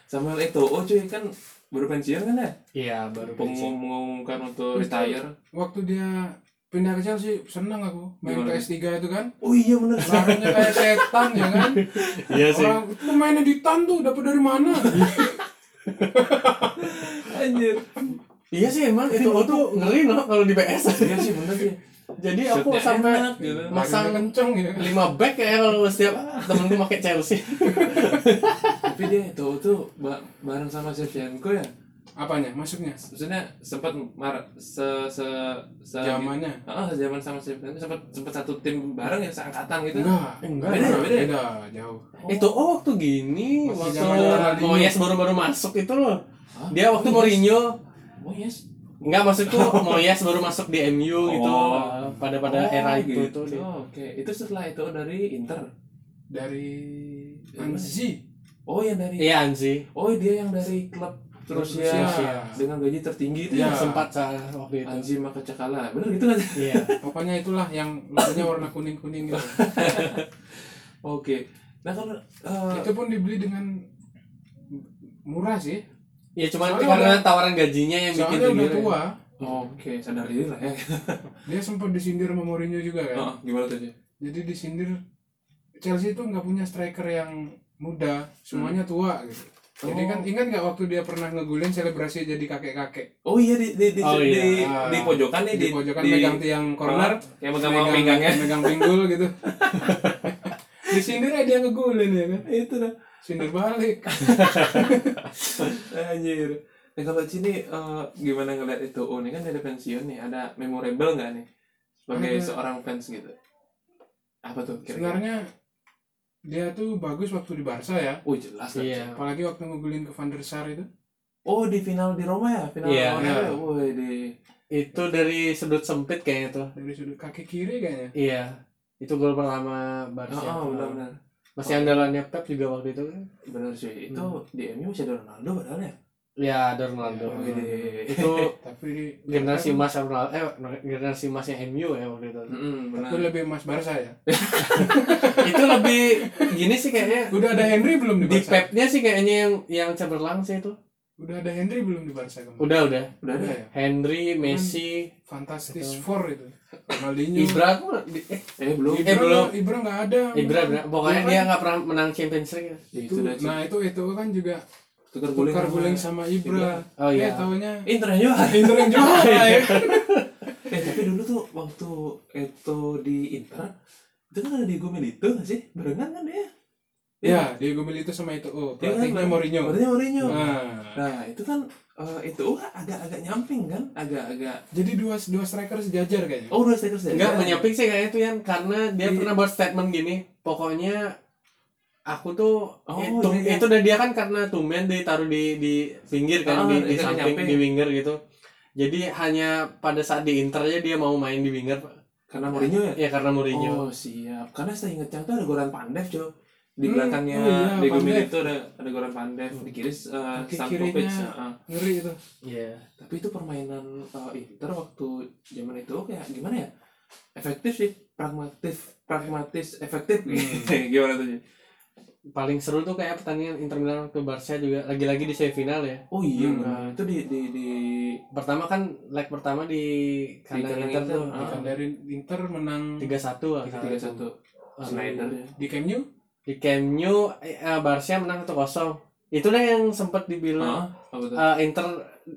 A: Samuel Eto'o cuy kan baru pensiun kan ya
B: iya baru
A: Pengum-
B: pensiun.
A: mengumumkan untuk retire
C: waktu dia pindah ke Chelsea seneng aku main
A: Gimana?
C: PS3 itu kan
A: oh iya <laughs> bener
C: larinya kayak setan ya kan
B: iya sih
C: orang itu mainnya di tan tuh dapat dari mana
A: anjir
B: iya sih emang itu tuh ngeri loh kalau di PS
A: iya sih bener sih
B: <laughs> jadi aku
A: Shootnya
B: sampai
A: enak, gitu.
B: masang
C: Larinya kenceng ya
B: lima back ya kalau setiap temenku pakai Chelsea
A: tapi dia Eto'o tuh ba- bareng sama Shevchenko ya
C: apanya masuknya
A: maksudnya sempat mar se se se
C: zamannya
A: Ah, sejaman sama Shevchenko sempat sempat satu tim bareng ya seangkatan gitu
C: enggak
B: Enggak,
C: beda
A: beda, beda.
C: beda jauh
B: Itu oh waktu gini
C: Masih
B: waktu
C: zaman Ronaldinho.
B: Moyes baru-baru masuk itu loh.
A: Hah?
B: Dia waktu Mourinho
A: oh yes
B: nggak
A: <laughs>
B: maksudku Moyes baru masuk di MU gitu
A: Oh.
B: eh, pada pada era
A: Oh,
B: itu
A: gitu.
B: tuh dia.
A: Oh, oke itu setelah itu dari Inter
C: dari Anzi
A: oh yang dari
B: Iya ya. Anzi
A: Oh dia yang dari klub Rusia,
C: Rusia.
A: dengan gaji tertinggi itu ya.
C: Ya.
B: sempat sa- waktu itu.
A: Anzi Makacakala, bener gitu kan?
B: Iya.
C: pokoknya itulah yang logonya warna kuning kuning gitu.
A: Oke, nah kalau eh,
C: itu pun dibeli dengan murah sih
B: Ya cuman
C: Soalnya
B: karena tawaran gajinya yang bikin
C: soalnya udah
B: tergiur.
C: tua
A: oke sadar diri lah ya.
C: dia sempat disindir sama Mourinho juga kan
A: Oh, gimana tuh sih?
C: jadi disindir Chelsea itu nggak punya striker yang muda semuanya tua gitu
A: Oh.
C: jadi kan ingat nggak waktu dia pernah ngegulin selebrasi jadi kakek kakek
A: Oh iya di di di,
B: Oh,
A: di,
B: iya.
A: di pojokan nih
C: di, pojokan megang tiang
B: Ah,
C: corner
A: corner yang megang megang megangnya
C: <laughs> megang pinggul
B: <laughs>
C: gitu disindir aja dia ngegulin ya kan
A: <laughs> itu dah
C: sindir balik
B: ya.
A: Eh, anjir. Nah kalau sini eh, gimana ngeliat itu? Oh ini kan dari pensiun nih, ada memorable nggak nih sebagai
C: Ada.
A: seorang fans gitu? Apa tuh? Kira-kira?
C: sebenarnya dia tuh bagus waktu di Barca ya
A: Oh jelas lah.
B: Iya.
C: apalagi waktu ngegulin ke Van der Sar itu
A: Oh di final di Roma ya? Final
B: Iya.
A: lawan apa ya?
C: Iya.
A: Woi di
B: Itu dari sudut sempit kayaknya tuh.
C: dari sudut kaki kiri kayaknya
B: Iya. Itu gol pertama Barca.
A: Oh, oh benar-benar.
B: Masih andalannya Pep juga waktu itu kan.
A: Benar sih. Itu di MU masih ada Ronaldo padahal ya.
B: Ya, ada Ronaldo.
C: Hmm.
A: Gede.
B: Itu
C: tapi di
B: generasi emas Ronaldo eh generasi emasnya MU ya waktu itu.
A: Mm-mm, benar.
C: itu lebih emas Barca ya
B: itu lebih gini sih kayaknya
C: udah ada Henry belum di
B: di
C: Barca
B: Pepnya sih kayaknya yang yang cemerlang sih itu.
C: udah ada Henry belum di Barca kemarin
B: Udah udah.
A: Udah ada.
C: ya
B: Henry, Messi,
C: Fantastis
B: Betul.
C: Four itu Ronaldinho
B: Ibra tuh di- eh,
A: Eh belum.
C: Ibra,
B: Eh, belum.
C: nggak- Ibra nggak ada
B: Ibra, Ibra. pokoknya
C: Iya kan?
B: dia nggak pernah menang Champions League.
A: Itu
C: itu,
A: udah
C: nah itu itu kan juga
A: tukar guling.
C: tukar
A: sama-
C: guling sama Ibra
B: Oh
C: eh
B: iya.
C: taunya
A: Inter aja.
C: Inter yang juara ya
A: Eh tapi dulu tuh waktu itu di Inter itu kan ada di Gomelito nggak sih? Barengan kan ya?
C: ya Diego Milito sama itu oh
A: Iya kan,
C: pelatihnya
A: bareng-
C: Mourinho
A: Berarti Mourinho.
C: nah
A: Nah itu kan eh, itu wah, agak-agak nyamping kan, agak-agak.
C: jadi dua dua striker sejajar kayaknya
A: Oh udah stiker saya.
B: Enggak menyepik sih kayaknya itu yang karena dia
A: Iya.
B: pernah buat statement gini, pokoknya aku tuh
A: Oh,
B: itu,
A: iya.
B: itu dari dia kan karena tumen ditaruh di di pinggir
A: Ah,
B: kan di,
A: iya,
B: di
A: iya,
B: samping
A: nyampe.
B: di winger gitu. Jadi hanya pada saat di Inter aja dia mau main di winger
A: Karena Mourinho ya.
B: ya karena Mourinho.
A: Oh siap. Karena saya ingetnya tuh ada Goran Pandev Jo. Di
C: Hmm,
A: belakangnya
C: oh iya,
A: Diego
C: Pandev. Hmm.
A: Milito ada ada Goran Pandev di kiri uh,
C: Kaki
A: Stankovic.
C: kirinya.
A: heeh.
C: ngeri itu
B: Iya.
A: eh. Tapi itu permainan uh, Inter waktu zaman itu kayak gimana ya? Efektif sih, pragmatis, pragmatis, efektif.
C: Hmm.
A: <laughs> gimana tuh? Jo?
B: Paling seru tuh kayak pertandingan Inter Milan ke Barca juga lagi-lagi di semifinal ya.
A: Oh iya,
C: Hmm.
A: benar. itu di di di
B: Pertama kan leg pertama di kandang
A: kandang Inter,
B: Inter tuh
A: ah.
C: Bukan dari Inter menang
B: 3-1
A: tiga
B: tiga ah.
A: satu Schneider ya.
C: di Camp Nou
B: di Camp Nou eh, eh, Barca menang 1-0 itulah yang sempat
A: Ah,
B: dibilang
A: apa tuh?
B: eh, Inter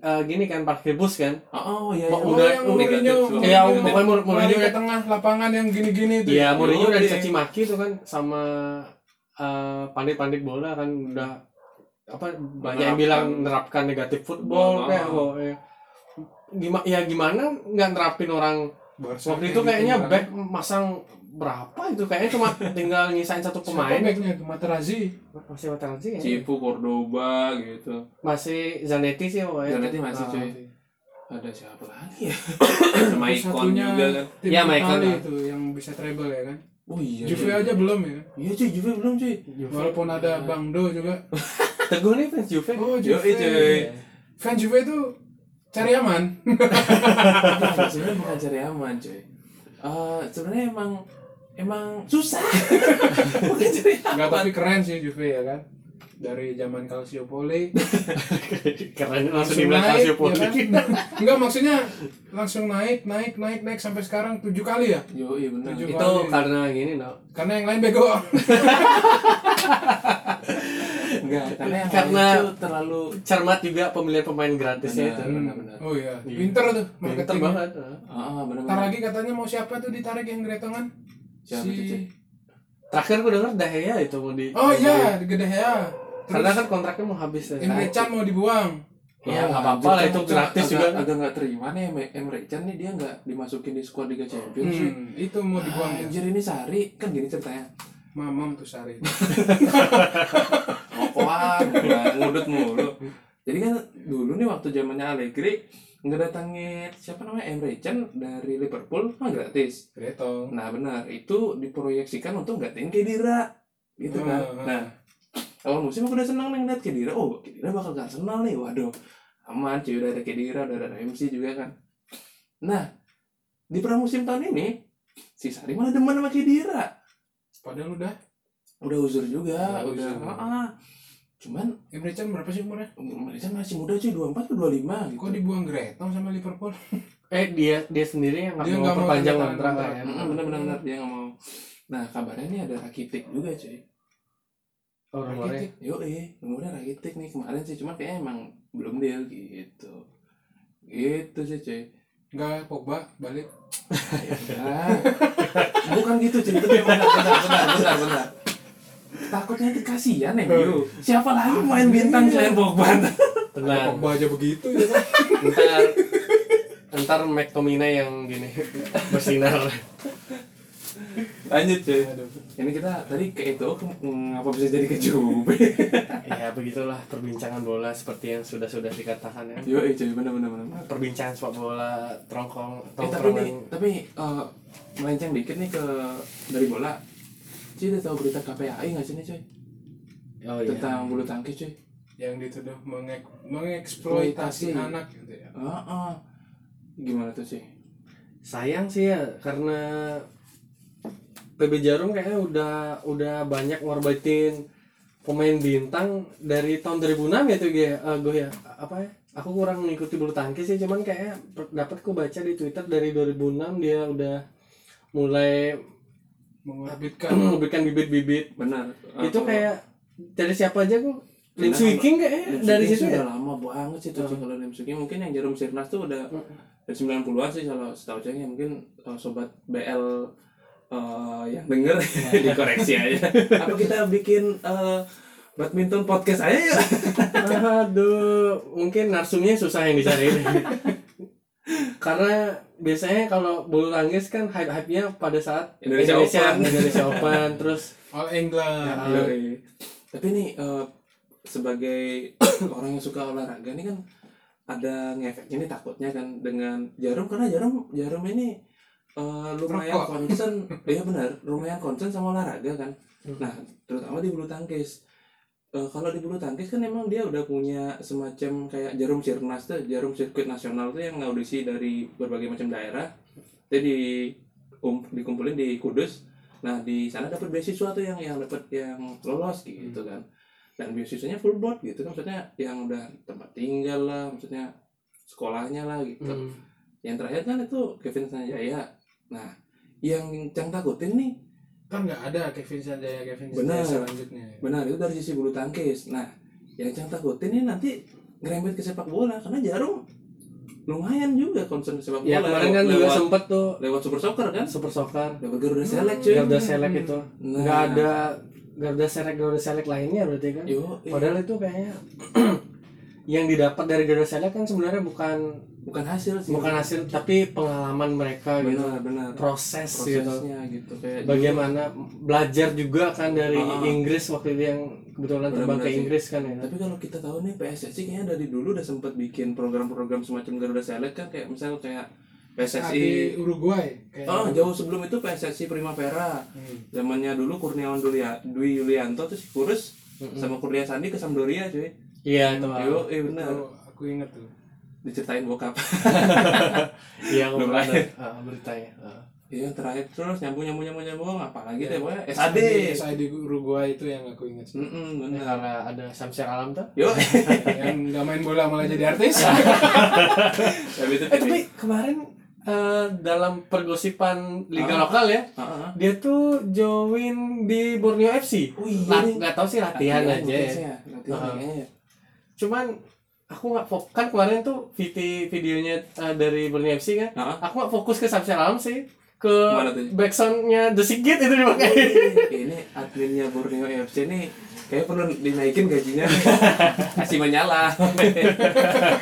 B: eh, gini kan parkir bus kan
A: Oh, oh iya.
B: Mau
A: iya.
B: udah-
A: yang Iya, oh.
B: udah-
A: negatif,
C: Mourinho,
A: Bang.
B: ya
C: Mourinho.
B: pokoknya Mur-
C: Lari
B: Mourinho
C: ke
B: udah-
C: tengah lapangan yang gini-gini tuh
B: ya Mourinho udah
A: Iya.
B: dicaci maki tuh kan sama eh, pandit-pandit bola kan udah apa banyak yang
A: Menerapkan-
B: bilang nerapkan negatif football
A: Bola.
B: kayak gimana ya gimana nggak nerapin orang
C: Barca gitu kan.
B: waktu itu kayaknya back masang berapa itu kayaknya cuma tinggal nyisain satu
C: pemain
B: pemain
C: backnya itu Materazzi
B: masih Materazzi ya
A: Cipu Cordoba gitu.
B: masih Zanetti sih pokoknya
A: Zanetti masih,
B: Ah.
A: cuy. Ada siapa lagi <coughs> ya? Sama ikon juga kan.
C: tim
B: Ya,
C: Itali
B: Michael.
C: itu yang bisa treble ya kan
A: Oh iya.
C: Juve
A: iya.
C: aja belum ya
A: Iya cuy, Juve belum cuy.
C: walaupun ada Bang Do juga
B: Teguh nih fans Juve.
C: oh
A: Juve,
C: Juve
A: eh, cuy.
C: fans Juve itu cari aman
A: Bukan, sebenarnya bukan cari aman cuy. Eh, sebenarnya emang emang susah. <laughs> bukan cari
C: nggak
A: aman.
C: tapi keren sih Juve ya kan dari zaman Calciopoli
B: <laughs> <laughs> Keren langsung
C: langsung
B: dibilang Calcio
C: naik ya
B: Poli.
C: kan? <laughs> nggak maksudnya langsung naik naik naik naik sampai sekarang tujuh kali ya
A: Yo iya benar.
C: Tujuh.
B: Itu karena gini no.
C: karena yang lain bego
B: <laughs>
A: Enggak, karena yang
B: Karena-
A: lain itu terlalu
B: Cermat juga pemilihan pemain gratisnya itu.
A: Benar, benar.
C: oh iya
B: Iya.
C: pinter tuh
B: Pinter
C: marketingnya
B: banget. ah.
A: Ah, benar
C: Ntar
A: benar.
C: lagi katanya mau siapa tuh ditarik yang geretongan?
A: Siapa tuh, Cik?
C: si...
B: Terakhir gue denger Dahea itu mau di mau
C: Oh
B: di-
C: iya, di Gede ya.
B: Karena kan kontraknya mau habis ya.
C: Emre Can mau dibuang.
B: Ya nggak apa-apa lah itu gratis
A: Oh, agak,
B: juga. kan.
A: agak nggak terima nih Emre- Emre Can nih dia nggak dimasukin di squad Liga
B: Iya.
A: Champions cuy.
C: Hmm, itu mau dibuang ya.
A: Anjir ini Sari kan gini ceritanya
C: Mamam tuh Sari.
A: <laughs> Ngokoan, ngudut mulu Jadi kan dulu nih waktu zamannya Allegri Ngedatangin siapa namanya Emre Can dari Liverpool mah gratis
C: Gretong.
A: Nah benar itu diproyeksikan untuk nggatain Kedira Gitu kan
C: Hmm.
A: Nah awal musim aku udah senang nih ngeliat Kedira Oh Kedira bakal ke Arsenal nih waduh Aman cuy udah ada Kedira udah ada MC juga kan Nah di pramusim tahun ini si Sari malah demen sama Kedira
C: Padahal udah.
A: udah uzur juga
C: Udah
A: udah
C: uzur.
A: ah, cuman
C: Emre Can berapa sih umurnya?
A: Malaysia masih muda cuy 24 atau 25 gitu
C: Kok dibuang Gretong sama Liverpool?
B: Eh dia dia sendiri yang nggak
C: Dia
B: mau
C: nggak mau
B: perpanjang
C: tanda tangan
B: kontrak lah ya.
C: kontrak.
A: Mm, bener bener bener dia nggak mau nah kabarnya nih ada Rakitic juga cuy
B: Oh, rumornya.
C: Rakitic.
A: yo eh umurnya Rakitic nih kemarin sih cuman kayaknya emang belum deal gitu gitu sih cuy
C: Enggak, Pogba balik.
A: Ya udah. <laughs> bukan gitu cuy tapi bentar bentar bentar bentar, bentar. takutnya nanti kasihan ya Bio. siapa lagi main bintang selain Pogba
C: Ada
B: Tenang.
C: Pogba aja begitu ya kan.
B: Ntar ntar McTominay yang gini bersinar.
A: lanjut cuy
C: Aduh.
A: Ini kita tadi ke itu ke- ngapa bisa jadi ke Juve? <laughs>
B: ya begitulah perbincangan bola seperti yang sudah sudah dikatakan ya
A: Yo, cuy, bener bener bener.
B: perbincangan sepak bola tongkong
A: Eh, tapi nih, tapi eh, melenceng dikit nih ke dari bola. Cuy, udah tahu berita KPAI nggak sih nih cuy?
B: oh, iya.
A: Tentang bulu tangkis cuy.
C: yang dituduh mengek
A: Eksploitasi.
C: mengeksploitasi anak gitu ya.
A: Heeh. Gimana tuh sih?
B: sayang sih ya karena PB Jarum kayaknya udah udah banyak ngorbatin pemain bintang dari tahun 2006 ya tuh gue gue ya apa ya aku kurang mengikuti bulu tangkis sih cuman kayaknya per- dapat ku baca di Twitter dari 2006 dia udah mulai
C: Mengorbitkan
B: memberikan bibit-bibit
A: Benar.
B: itu kayak dari siapa aja kok Lim
A: Kenapa?
B: Swicking kayaknya dari situ
A: <laughs>
B: ya
A: udah lama banget sih tuh Cuy, kalau Lim Suking mungkin yang jarum sirnas tuh udah dari 90-an sih kalau setahu saya ya. mungkin eh, sobat BL eh, yang denger <laughs> dikoreksi aja. Apa kita bikin eh, badminton podcast aja ya?
B: Aduh, mungkin narsumnya susah yang dicari.
A: <laughs>
B: Karena biasanya kalau bulu tangkis kan hype-hype-nya pada saat
A: Indonesia Open.
B: Indonesia
A: <laughs>
B: Open, terus
C: All England.
B: Ya.
A: Yoi. iya. Tapi nih eh, sebagai <coughs> orang yang suka olahraga ini kan ada ngefek ini takutnya kan dengan jarum karena jarum jarum ini eh, lumayan
C: Rokok.
A: concern iya benar lumayan concern sama olahraga kan
B: Hmm.
A: nah terutama di bulu tangkis Eh, kalau di bulu tangkis kan emang dia udah punya semacam kayak jarum sirnas tuh jarum sirkuit nasional tuh yang ngaudisi dari berbagai macam daerah jadi um, dikumpulin di Kudus nah di sana dapat beasiswa tuh yang yang dapat yang lolos gitu kan
B: Hmm.
A: dan beasiswanya full board gitu kan maksudnya yang udah tempat tinggal lah maksudnya sekolahnya lah gitu
B: hmm,
A: yang terakhir kan itu Kevin Sanjaya nah yang yang takutin nih
C: Kan nggak ada Kevin Sanjaya Kevin
A: Benar.
C: Sanjaya selanjutnya.
A: benar itu dari sisi bulu tangkis nah yang yang takutin nih nanti ngerembet ke sepak bola karena jarum lumayan juga concern ke sepak bola
B: ya kemarin kan juga
A: lewat,
B: sempet tuh
A: lewat super soccer kan
B: Super Soccer,
A: dapat Garuda Select cuy
B: Garuda Select itu.
A: Nah.
B: Nggak ada Garuda Select, Garuda Select lainnya berarti kan.
A: Yo, iya.
B: Padahal itu kayaknya <clears throat> yang didapat dari Garuda Select kan sebenarnya bukan
A: bukan hasil sih
B: bukan hasil tapi pengalaman mereka gitu.
A: benar benar
B: Proses, gitu.
A: prosesnya gitu kayak
B: bagaimana belajar juga kan dari
A: Ah.
B: Inggris waktu itu yang kebetulan terbang
A: Benar-benar
B: ke
A: sih.
B: Inggris kan ya.
A: tapi kalau kita tahu nih PSSI kayaknya dari dulu udah sempat bikin program-program semacam Garuda Select kan kayak misalnya kayak
C: Di
A: PSSI
C: Uruguay kayak
A: oh jauh sebelum itu PSSI Primavera
C: Hmm.
A: zamannya dulu Kurniawan Dulia, Dwi Yulianto terus kurus sama Kurnia Sandi ke Sampdoria cuy
B: Iya itu. Pak.
A: yo eh benar
C: Tuh, aku inget tuh.
A: diceritain bokap <laughs>
B: Iya aku pernah
A: Lumayan.
B: ada, ah, beritanya. Ah.
A: iya terakhir terus nyambung nyambung nyambung nyambung apalagi
B: Iya.
A: deh pokoknya SAD
C: SAD SAD Uruguay itu yang aku inget.
A: Mm-mm,
B: Ini
A: benar
B: Eh, karena ada Samsir Alam tuh.
A: yo <laughs>
C: yang nggak main bola malah jadi artis.
A: Ya. tapi itu
B: Eh tapi kemarin eh, dalam pergosipan liga lokal ya,
A: Ah, ah.
B: dia tuh join di Borneo FC.
A: Oh, iya,
B: Lat-
A: nih.
B: nggak tahu sih latihan, aja.
A: mungkin
B: ya.
A: sih ya, latihan
B: Ah.
A: kayaknya ya.
B: Cuman aku nggak fokus kan kemarin tuh VT videonya eh, dari Borneo FC kan.
A: Ah, ah.
B: aku nggak fokus ke Samsir Alam sih ke
A: Mana tuh?
B: backsoundnya The Sigit itu dipakai
A: ini adminnya Borneo FC nih kayak perlu dinaikin gajinya masih menyala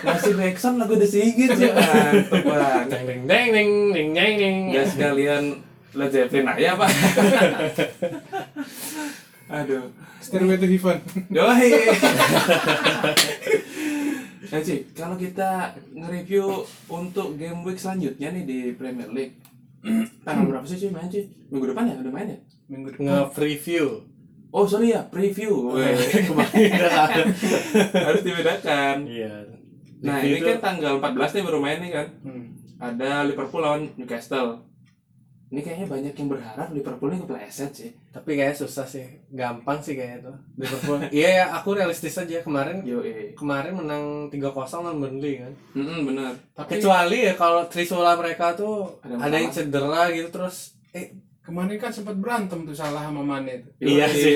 A: masih backsound lagu The Sigit ya mantep banget
B: deng deng deng deng deng deng deng
A: nggak sekalian Led Zeppelin aja pak aduh
C: Stairway to Heaven.
A: doi Nah, Ci, kalau kita nge-review untuk game week selanjutnya nih di Premier League Tanggal berapa sih Ci main Ci? Minggu depan ya? Udah main ya?
C: Minggu depan.
B: nge preview
A: Oh sorry ya, preview
B: <laughs>
A: Weh, <laughs> Harus dibedakan
B: iya
A: Nah
B: Review
A: ini
B: itu-
A: kan tanggal 14 nih baru main nih kan
C: Hmm.
A: Ada Liverpool lawan Newcastle Ini kayaknya banyak yang berharap Liverpool ini kepleset sih
B: tapi kayaknya susah sih gampang sih kayaknya tuh Liverpool <laughs> iya ya aku realistis aja kemarin
A: Yo eh
B: kemarin menang 3-0 lawan Burnley kan
A: Mm-mm, bener
C: Tapi
B: kecuali ya kalau Trisula mereka tuh
A: Ada yang
B: ada yang
A: salah.
B: cedera gitu terus eh
C: kemarin kan sempat berantem tuh salah sama Mane tuh.
A: Yo,
B: Iya
A: eh.
B: sih.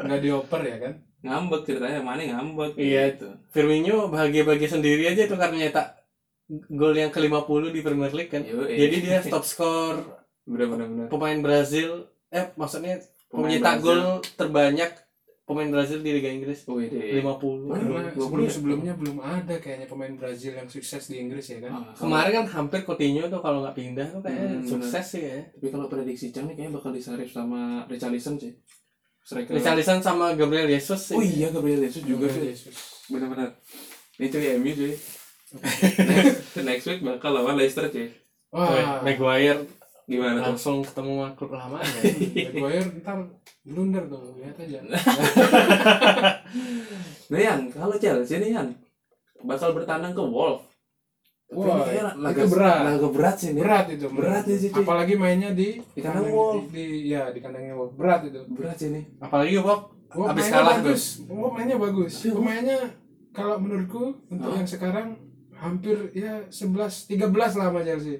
C: Nggak dioper ya kan?
A: <laughs> Ngambek ceritanya, mana ngambek
B: Iya.
A: gitu.
B: Firmino bahagia-bahagia sendiri aja tuh karena nyetak gol yang ke-50 di Premier League kan
A: Yo, eh.
B: jadi dia top skor
A: <laughs> Bener bener bener
B: pemain Brazil eh maksudnya
A: Pemain Brazil.
B: pencetak gol terbanyak pemain Brazil di Liga Inggris
A: Wih deh.
B: 50
C: Karena
A: Dua puluh
C: sebelum
A: ya?
C: sebelumnya belum ada kayaknya pemain Brazil yang sukses di Inggris ya
A: Ah,
C: kan.
B: kemarin kan hampir Coutinho tuh kalau nggak pindah tuh kayaknya
A: Hmm,
B: sukses sih ya
A: Tapi kalau prediksi Cang nih kayaknya bakal disarif sama Richarlison sih. Striker.
B: Richarlison sama Gabriel Jesus sih
A: Oh iya Gabriel Jesus juga
C: Gabriel
A: sih.
C: Jesus.
A: Benar-benar. Ini cuy MU
B: <laughs>
A: cuy. next, next week bakal lawan Leicester cuy.
B: Weh,
C: Wah,
B: Maguire
A: Gimana tuh?
B: langsung ketemu sama klub lama ya
C: Maguire Iya, ntar blunder tuh, lihat aja.
A: Nah Yan, kalau Chelsea nih Yan bakal bertandang ke Wolf.
C: Wah, itu berat.
A: Laga berat sih nih.
C: Berat itu,
A: Berat ya, Cici.
C: Apalagi mainnya di
A: Di kandang Wolf.
C: di ya di kandangnya Wolf. Berat itu.
A: Berat sih nih.
B: apalagi Bob
C: Wolf
B: Abis
C: mainnya
B: kalah
C: bagus. Wolf mainnya bagus.
A: Iya, Wolf.
C: Pemainnya kalau menurutku untuk
A: Hah?
C: yang sekarang hampir ya 11 13 lah sama Chelsea.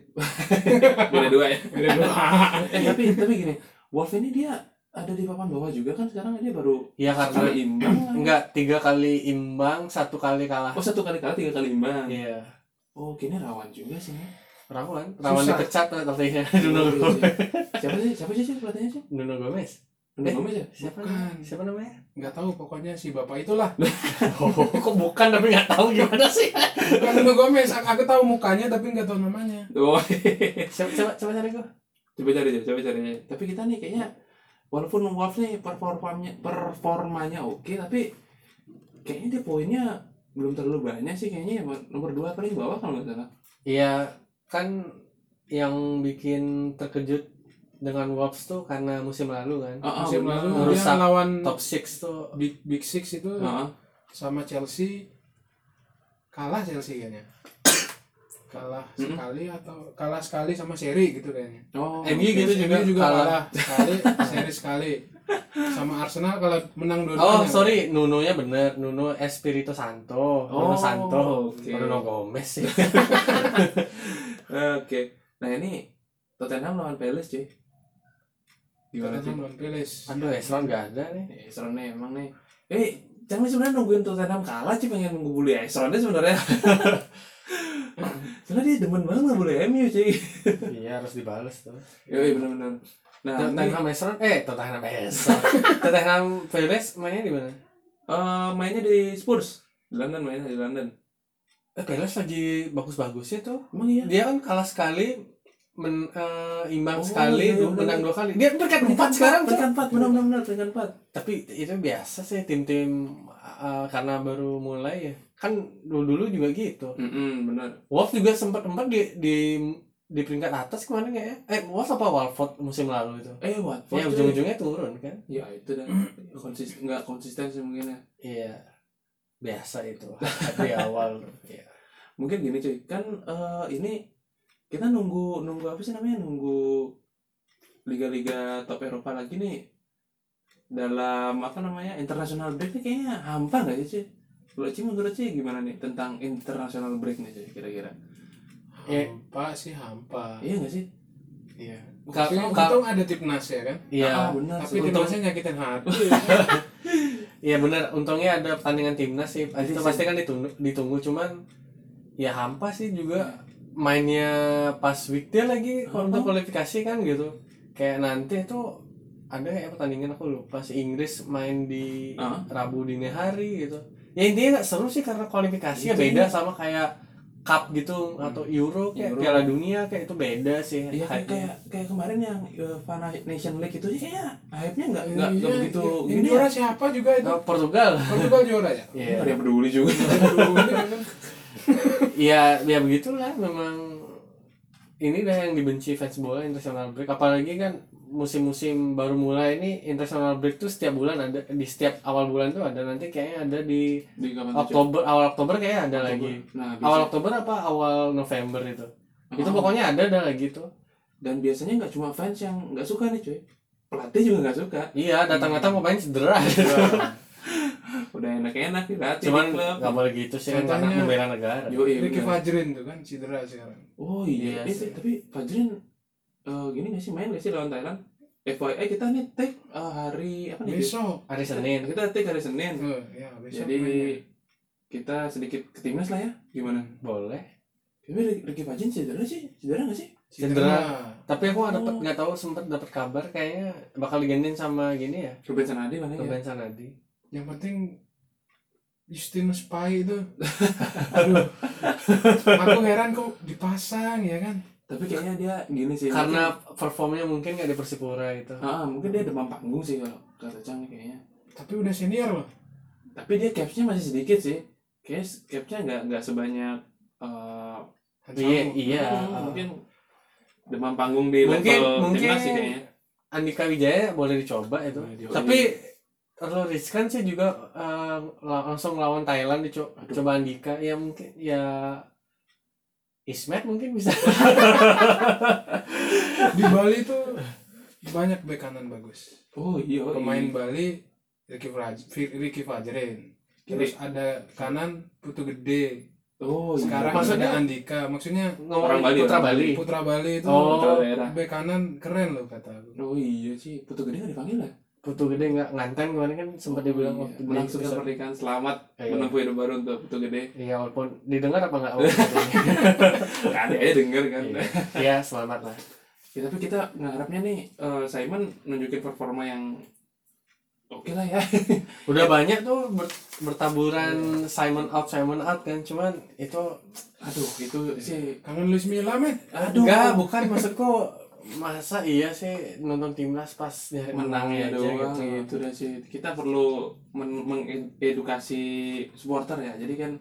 A: Beda dua ya.
C: Beda <laughs> dua.
A: eh tapi tapi gini, Wolf ini dia ada di papan bawah juga kan sekarang dia baru
B: ya
A: baru
B: karena
A: imbang.
B: enggak tiga kali imbang satu kali kalah
A: Oh satu kali kalah tiga kali imbang.
B: iya
A: Oh kini rawan juga sih nih.
B: rawan rawan
C: Susah.
B: dipecat artinya Nuno
A: Iya, iya.
B: Gomez
A: Siapa sih siapa sih sih pelatihnya sih?
B: Nuno Gomez
A: Nuno
B: Eh.
A: Gomez ya.
B: siapa
C: Bukan.
B: siapa namanya
C: Enggak tahu pokoknya si bapak itulah.
B: <laughs> oh, kok bukan tapi nggak tahu gimana sih
C: Bukan Nuno Gomez, aku tahu mukanya tapi nggak tahu namanya.
A: Oh
B: siapa coba coba cari gue
A: coba cari aja, coba cari aja. Tapi kita nih kayaknya walaupun Wolf nih performanya performanya oke tapi kayaknya dia poinnya belum terlalu banyak sih kayaknya ya nomor dua paling bawah kalau nggak salah.
B: Iya kan yang bikin terkejut dengan Wolves tuh karena musim lalu kan
A: Ah, ah,
C: Musim
A: benar.
C: lalu
B: Merusak.
C: dia lawan
B: top 6 tuh
C: Big Big Six itu
A: Ah,
C: sama Chelsea kalah Chelsea kayaknya. <coughs> Kalah
A: Mm-mm.
C: sekali atau kalah sekali sama seri gitu kayaknya.
A: oh.
B: MU gitu
C: Terus
B: juga,
C: MU
B: kalah.
C: kalah. sekali, seri sekali. Sama Arsenal kalau menang dua
B: Oh sorry Nuno nya bener Nuno Espirito Santo
A: Oh,
B: Nuno Santo
A: oke.
B: Kok Nuno Gomez <laughs> sih
A: Eh, <laughs> Oke. Nah ini Tottenham lawan Palace cuy. Gimana sih?
C: Tottenham lawan Palace.
B: Aduh Esron gak ada <laughs> nih
A: Eh, Esron nih emang nih. Eh, jangan sebenarnya nungguin Tottenham kalah sih pengen nunggu bully Esron dia sebenarnya. <laughs> Soalnya dia demen banget bully MU cuy.
B: Iya harus dibales tuh
A: Yoi Iya, benar-benar. Nah, ini,
B: Tottenham Esron Eh Tottenham <laughs> Esron Tottenham Palace mainnya di mana?
A: eh, mainnya di Spurs. Di London mainnya di London.
B: Eh Palace lagi bagus-bagusnya ya tuh
A: Emang iya.
B: Dia kan kalah sekali men, eh, Imbang
A: Oh,
B: sekali
A: iya,
B: dua-
A: bener.
B: Menang dua kali Dia peringkat empat sekarang tuh
A: peringkat empat, benar benar benar peringkat empat.
B: tapi itu biasa sih tim-tim uh, karena baru mulai ya kan dulu dulu juga gitu
A: Mm-mm, benar.
B: Wolf juga sempat sempat di di di peringkat atas kemarin kayaknya eh Wolf apa Walford musim lalu itu
A: Eh, Watford.
B: ya
A: cuy.
B: ujung-ujungnya turun kan
A: Ya, itu dah. Konsisten enggak konsisten sih mungkin ya.
B: iya biasa itu <laughs> di awal Iya.
A: mungkin gini cuy kan eh, ini kita nunggu nunggu apa sih namanya nunggu liga-liga top Eropa lagi nih dalam apa namanya international break nih kayaknya hampa nggak sih cuy kalau cuy menurut cuy gimana nih tentang international break nih cuy kira-kira
B: Eh.
C: Hampa sih hampa.
A: iya nggak sih
C: Iya.
B: Ka-
C: Maksudnya
B: ka-
C: untung ada timnas ya kan.
B: iya
A: Ah, benar
C: Tapi
A: sih
B: untung-
C: timnasnya nyakitin hati.
B: iya benar untungnya ada pertandingan timnas sih itu pasti kan ditunggu ditunggu cuman ya hampa sih juga mainnya pas weekday lagi kalau untuk kualifikasi kan gitu kayak nanti tuh ada kayak pertandingan aku lupa sih Inggris main di
A: Ah.
B: Rabu dini hari gitu ya intinya nggak seru sih karena kualifikasinya beda sama kayak cup gitu atau Euro kayak
A: Euro.
B: Piala Dunia kayak itu beda sih
A: Iya kan
B: hype-nya.
A: kayak kayak kemarin yang UEFA Nation League itu kayaknya hype-nya nggak nggak nggak
C: Iya,
A: begitu
C: Yang
A: gini ya.
C: juara siapa juga itu?
B: Nah, Portugal
C: Portugal juara ya.
A: Nggak
B: Iya.
A: ada yang peduli juga.
C: Aduh, ini kan.
B: <laughs> ya ya begitulah memang ini dah yang dibenci fans bola international break apalagi kan musim-musim baru mulai ini international break tuh setiap bulan ada di setiap awal bulan tuh ada nanti kayaknya ada di
A: <laughs> Di kapan tuh, cuy?
B: Oktober awal Oktober kayaknya ada lagi
A: Nah, biasanya-
B: awal Oktober apa awal November itu itu
A: Ah.
B: pokoknya ada ada lagi tuh
A: dan biasanya nggak cuma fans yang nggak suka nih cuy pelatih juga nggak suka
B: iya datang-datang pemain cedera
A: udah enak-enak nih pelatih
B: <laughs> cuman
A: di klub
B: nggak boleh gitu sih kan
C: Contohnya-
B: karena membela negara
A: Yoi,
C: Ricky
A: bener.
C: Fajrin tuh kan cedera sekarang.
A: oh iya,
B: Iya
A: Eh,
B: sih.
A: tapi Fajrin eh, gini nggak sih main nggak sih lawan Thailand FYI kita nih take eh, hari apa nih cuy?
C: Besok.
B: hari Senin
A: kita take hari Senin
C: Eh, ya, besok.
A: jadi
C: mainnya.
A: kita sedikit ke timnas lah ya gimana
B: boleh
A: tapi Ricky Fajrin cedera sih cedera nggak sih
B: cedera
C: Iya.
B: tapi aku nggak dapat
A: Oh.
B: nggak tahu sempat dapat kabar kayaknya bakal digantiin sama gini ya
A: Ruben Sanadi mana ya
B: Ruben Sanadi
C: yang penting Justinus Pai
B: <laughs>
C: itu aduh aku heran kok dipasang ya kan
A: tapi kayaknya dia gini sih
B: karena performnya mungkin nggak di Persipura itu
A: mungkin, Ah, mungkin dia demam panggung sih kalau kata Cang kayaknya
C: tapi udah senior loh
A: tapi dia capsnya masih sedikit sih kayak capsnya nggak nggak sebanyak eh,
B: iya
C: Hansamu.
B: iya
A: hmm, mungkin demam panggung di
B: Mungkin-
A: level
B: mungkin-
A: timnas sih kayaknya
B: Andika Wijaya boleh dicoba itu
A: Iya,
C: Boleh dicoba.
B: tapi terlalu riskan sih juga eh, la- langsung lawan Thailand dicoba
A: Aduh.
B: coba Andika ya mungkin ya Ismet mungkin bisa
C: di Bali tuh banyak bek kanan bagus
A: oh iya iya.
C: pemain Bali Ricky, Faj- Ricky Fajrin
B: Iya.
C: terus ada kanan Putu Gede
A: oh iya.
C: sekarang
B: Maksudnya-
C: ada Andika maksudnya
A: <laughs> Orang Bali,
B: Putra
A: orang
B: Bali
C: Putra Bali itu
B: Oh.
A: Putra daerah
C: bek kanan keren loh kata aku
A: oh iya sih putu gede nggak dipanggil ya? lah
B: Putu Gede nggak nganten kemarin kan sempat dibilang
A: iya.
B: waktu di
A: langsung
B: episode-
A: pernikahan selamat
B: Iya.
A: menempuh hidup baru untuk putu gede
B: Iya walaupun didengar apa nggak oh, walaupun-
A: <laughs> kan dia denger kan
B: Iya. Iya selamat lah
A: ya tapi kita ngarapnya nih eh, Simon nunjukin performa yang oke lah ya
B: udah banyak tuh Eh, ber- bertaburan Simon out Simon out kan cuman itu
A: <laughs> aduh itu sih
C: kangen Luis Milla men
A: aduh
B: enggak bukan maksudku masa iya sih nonton timnas pas nyari
A: menang
B: menangnya
A: ya
B: aja
A: doang
B: gitu.
A: gitu dah sih kita perlu men- mengedukasi supporter ya jadi kan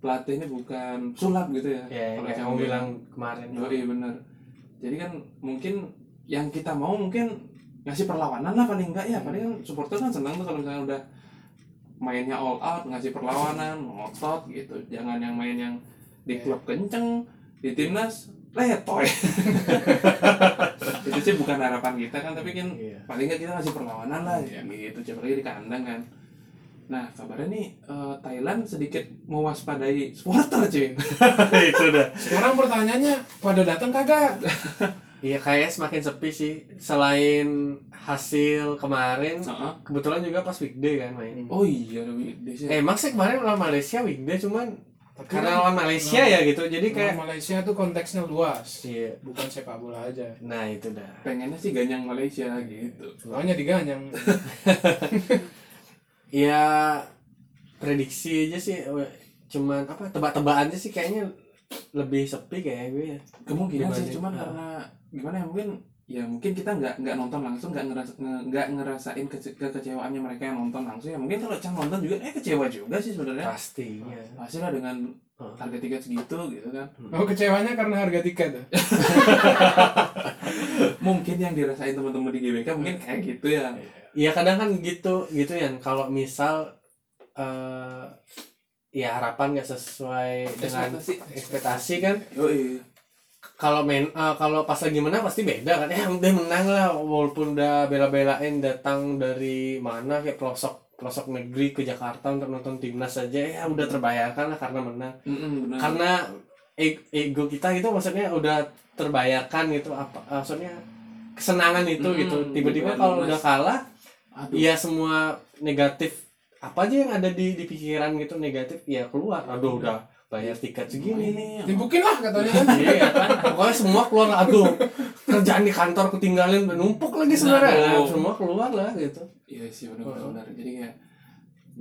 A: pelatihnya bukan sulap gitu ya
B: ya
A: Kalau
B: kayak
A: Cang
B: kamu bilang
A: bilang.
B: kemarin
A: Yoi bener Jadi kan mungkin yang kita mau mungkin ngasih perlawanan lah paling enggak ya Paling kan supporter kan senang tuh kalau misalnya udah mainnya all out Ngasih perlawanan, ngotot gitu Jangan yang main yang di klub kenceng, di timnas letoy Itu sih bukan harapan kita kan Tapi kan
B: Iya.
A: paling enggak kita ngasih perlawanan lah gitu Coba lagi di kandang kan Nah kabarnya nih eh, Thailand sedikit mewaspadai supporter cuy
B: <laughs> itu udah
C: sekarang pertanyaannya pada datang kagak
B: iya kayak semakin sepi sih selain hasil kemarin
A: Heeh.
B: kebetulan juga pas weekday kan main
A: Oh iya, lebih biasanya
B: emang sih kemarin lawan Malaysia weekday cuman
C: Tapi
B: Hmm. karena
C: kan
B: lawan Malaysia ya gitu jadi
C: orang
B: kayak
C: Malaysia tuh konteksnya luas
B: iya
C: bukan sepak bola aja
B: nah itu dah
A: pengennya sih ganyang Malaysia gitu
C: Soalnya
B: <laughs>
C: diganyang
B: ya prediksi aja sih we- cuman apa tebak-tebakan aja sih kayaknya lebih sepi kayak gue ya
A: kemungkinan sih
B: Dibanding-
A: cuman
B: ah.
A: karena gimana ya mungkin ya mungkin kita nggak nggak nonton langsung nggak ngeras nge- nggak ngerasain kece- kekecewaannya mereka yang nonton langsung ya mungkin kalau cang nonton juga eh kecewa juga sih sebenarnya
B: pastinya
A: pasti lah dengan harga tiket segitu gitu kan
C: Oh kecewanya karena harga tiket
B: Iya.
A: mungkin yang dirasain teman-teman di GBK mungkin kayak gitu ya
B: ya kadang kan gitu gitu ya kalau misal eh ya harapan nggak sesuai dengan
A: Ekspektasi.
B: ekspektasi kan
A: Yoi.
B: kalau main eh, kalau pas lagi menang pasti beda kan <laughs> ya udah menang lah walaupun udah bela-belain datang dari mana kayak pelosok pelosok negeri ke Jakarta untuk nonton timnas aja ya udah terbayarkan lah karena menang
A: Mm-mm, benar.
B: karena e- ego kita itu maksudnya udah terbayarkan gitu apa eh, maksudnya kesenangan itu
A: Hmm,
B: gitu tiba-tiba
A: benar,
B: kalau
A: Mas.
B: udah kalah
A: aduh
B: ya semua negatif apa aja yang ada di di pikiran gitu negatif ya keluar aduh udah bayar tiket segini
A: ini
C: Timbukin lah katanya kan
B: iya kan pokoknya semua keluar lah. aduh kerjaan di kantor ketinggalan numpuk lagi sebenarnya
A: Aduh.
B: semua keluar lah gitu
A: iya sih
B: Oh.
A: benar-benar jadi kayak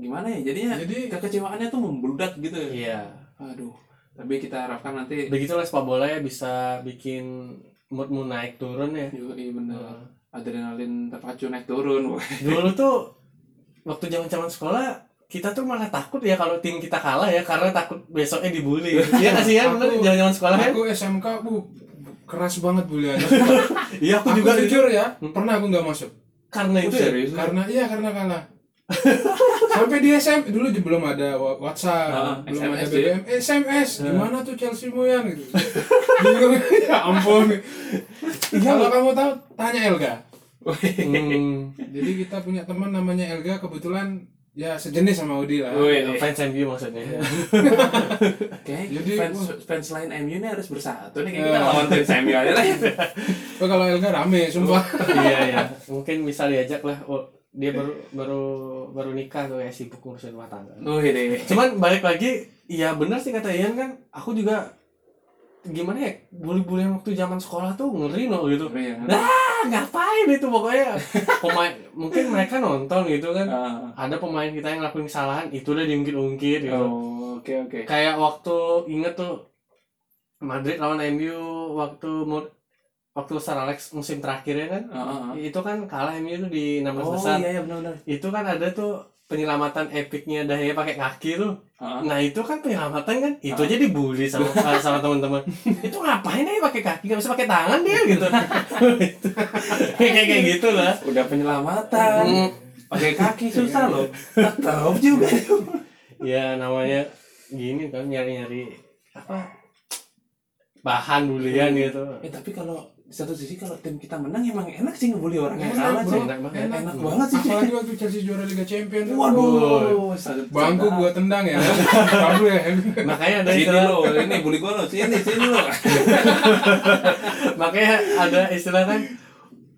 A: gimana ya jadinya
C: Jadi-
A: kekecewaannya tuh membludak gitu ya
B: iya
A: aduh tapi kita harapkan nanti
B: begitulah sepak bola ya bisa bikin moodmu naik turun ya
A: Yoi bener Adrenalin terpacu naik turun wah.
B: dulu tuh waktu zaman zaman sekolah kita tuh malah takut ya kalau tim kita kalah ya karena takut besoknya dibully iya kasihan bener
C: Aku-
B: zaman zaman sekolah ya
C: Aku SMK bu keras banget buliannya
B: iya aku
C: Aku
B: juga Hmm. itu
C: jujur ya Pernah aku nggak masuk
A: Nah,
B: karena itu ya
A: serius
C: Karena iya karena
B: <laughs>
C: kalah Sampai di SM Dulu j- belum ada
A: Ah,
C: wa- WhatsApp Belum
B: ya?
C: ada
A: SMS,
C: BBM SMS
B: Ah.
C: Gimana tuh Chelsea Moyan
B: <laughs>
C: gitu Bingung. Ya
B: Iya,
C: ampun Kalau kamu tahu Tanya Elga
A: iya. <laughs>
B: hmm,
C: Jadi kita punya teman namanya Elga Kebetulan ya sejenis sama Udi lah
A: Iya.
B: fans MU maksudnya
A: Kayaknya
C: Jadi-
A: fans, fans lain MU ini harus bersatu nih kayak kita lawan fans MU aja lah
C: Oh, Kalau Elga rame sumpah
B: iya iya mungkin bisa diajak lah Oh, dia baru baru baru nikah tuh ya sibuk ngurusin rumah tangga
A: Wih deh
B: cuman balik lagi iya benar sih kata Ian kan aku juga gimana ya bully-bullyan waktu zaman sekolah tuh ngeri loh gitu
A: Iya.
B: Nah, ngapain itu pokoknya <laughs> pemain mungkin mereka nonton gitu kan
A: Ah.
B: ada pemain kita yang ngelakuin kesalahan itu udah diungkit-ungkit gitu
A: Oh, oke oke.
B: kayak waktu inget tuh Madrid lawan MU waktu mu- waktu Sir Alex musim terakhirnya kan
A: Ah, ah, ah.
B: itu kan kalah MU tuh di 16
A: Oh
B: besar
A: iya iya benar-benar.
B: itu kan ada tuh penyelamatan epicnya Dahya pakai kaki tuh
A: Ah, ah.
B: nah itu kan penyelamatan kan itu aja dibully sama eh, sama teman-teman itu ngapain aja pakai kaki nggak bisa pakai tangan dia gitu kayak kayak gitu lah
A: Udah penyelamatan.
B: Hmm.
A: Pakai kaki susah loh. Tetap juga.
B: ya namanya gini kan nyari-nyari apa bahan bulian gitu
A: Eh tapi kalau di satu sisi kalau tim kita menang emang enak sih ngebully orang yang
C: Enak,
A: kalah
C: bro.
A: sih.
B: enak banget.
A: Enak, banget sih. cuy.
C: Apalagi waktu Chelsea juara Liga Champions. tuh.
A: Waduh, sangat
C: Bangku
A: bercanda.
C: gua tendang ya. Bangku ya.
B: makanya ada
A: Sini
B: istilah
A: lo, ini bully gua lo, sini sini lo.
B: makanya ada istilah kan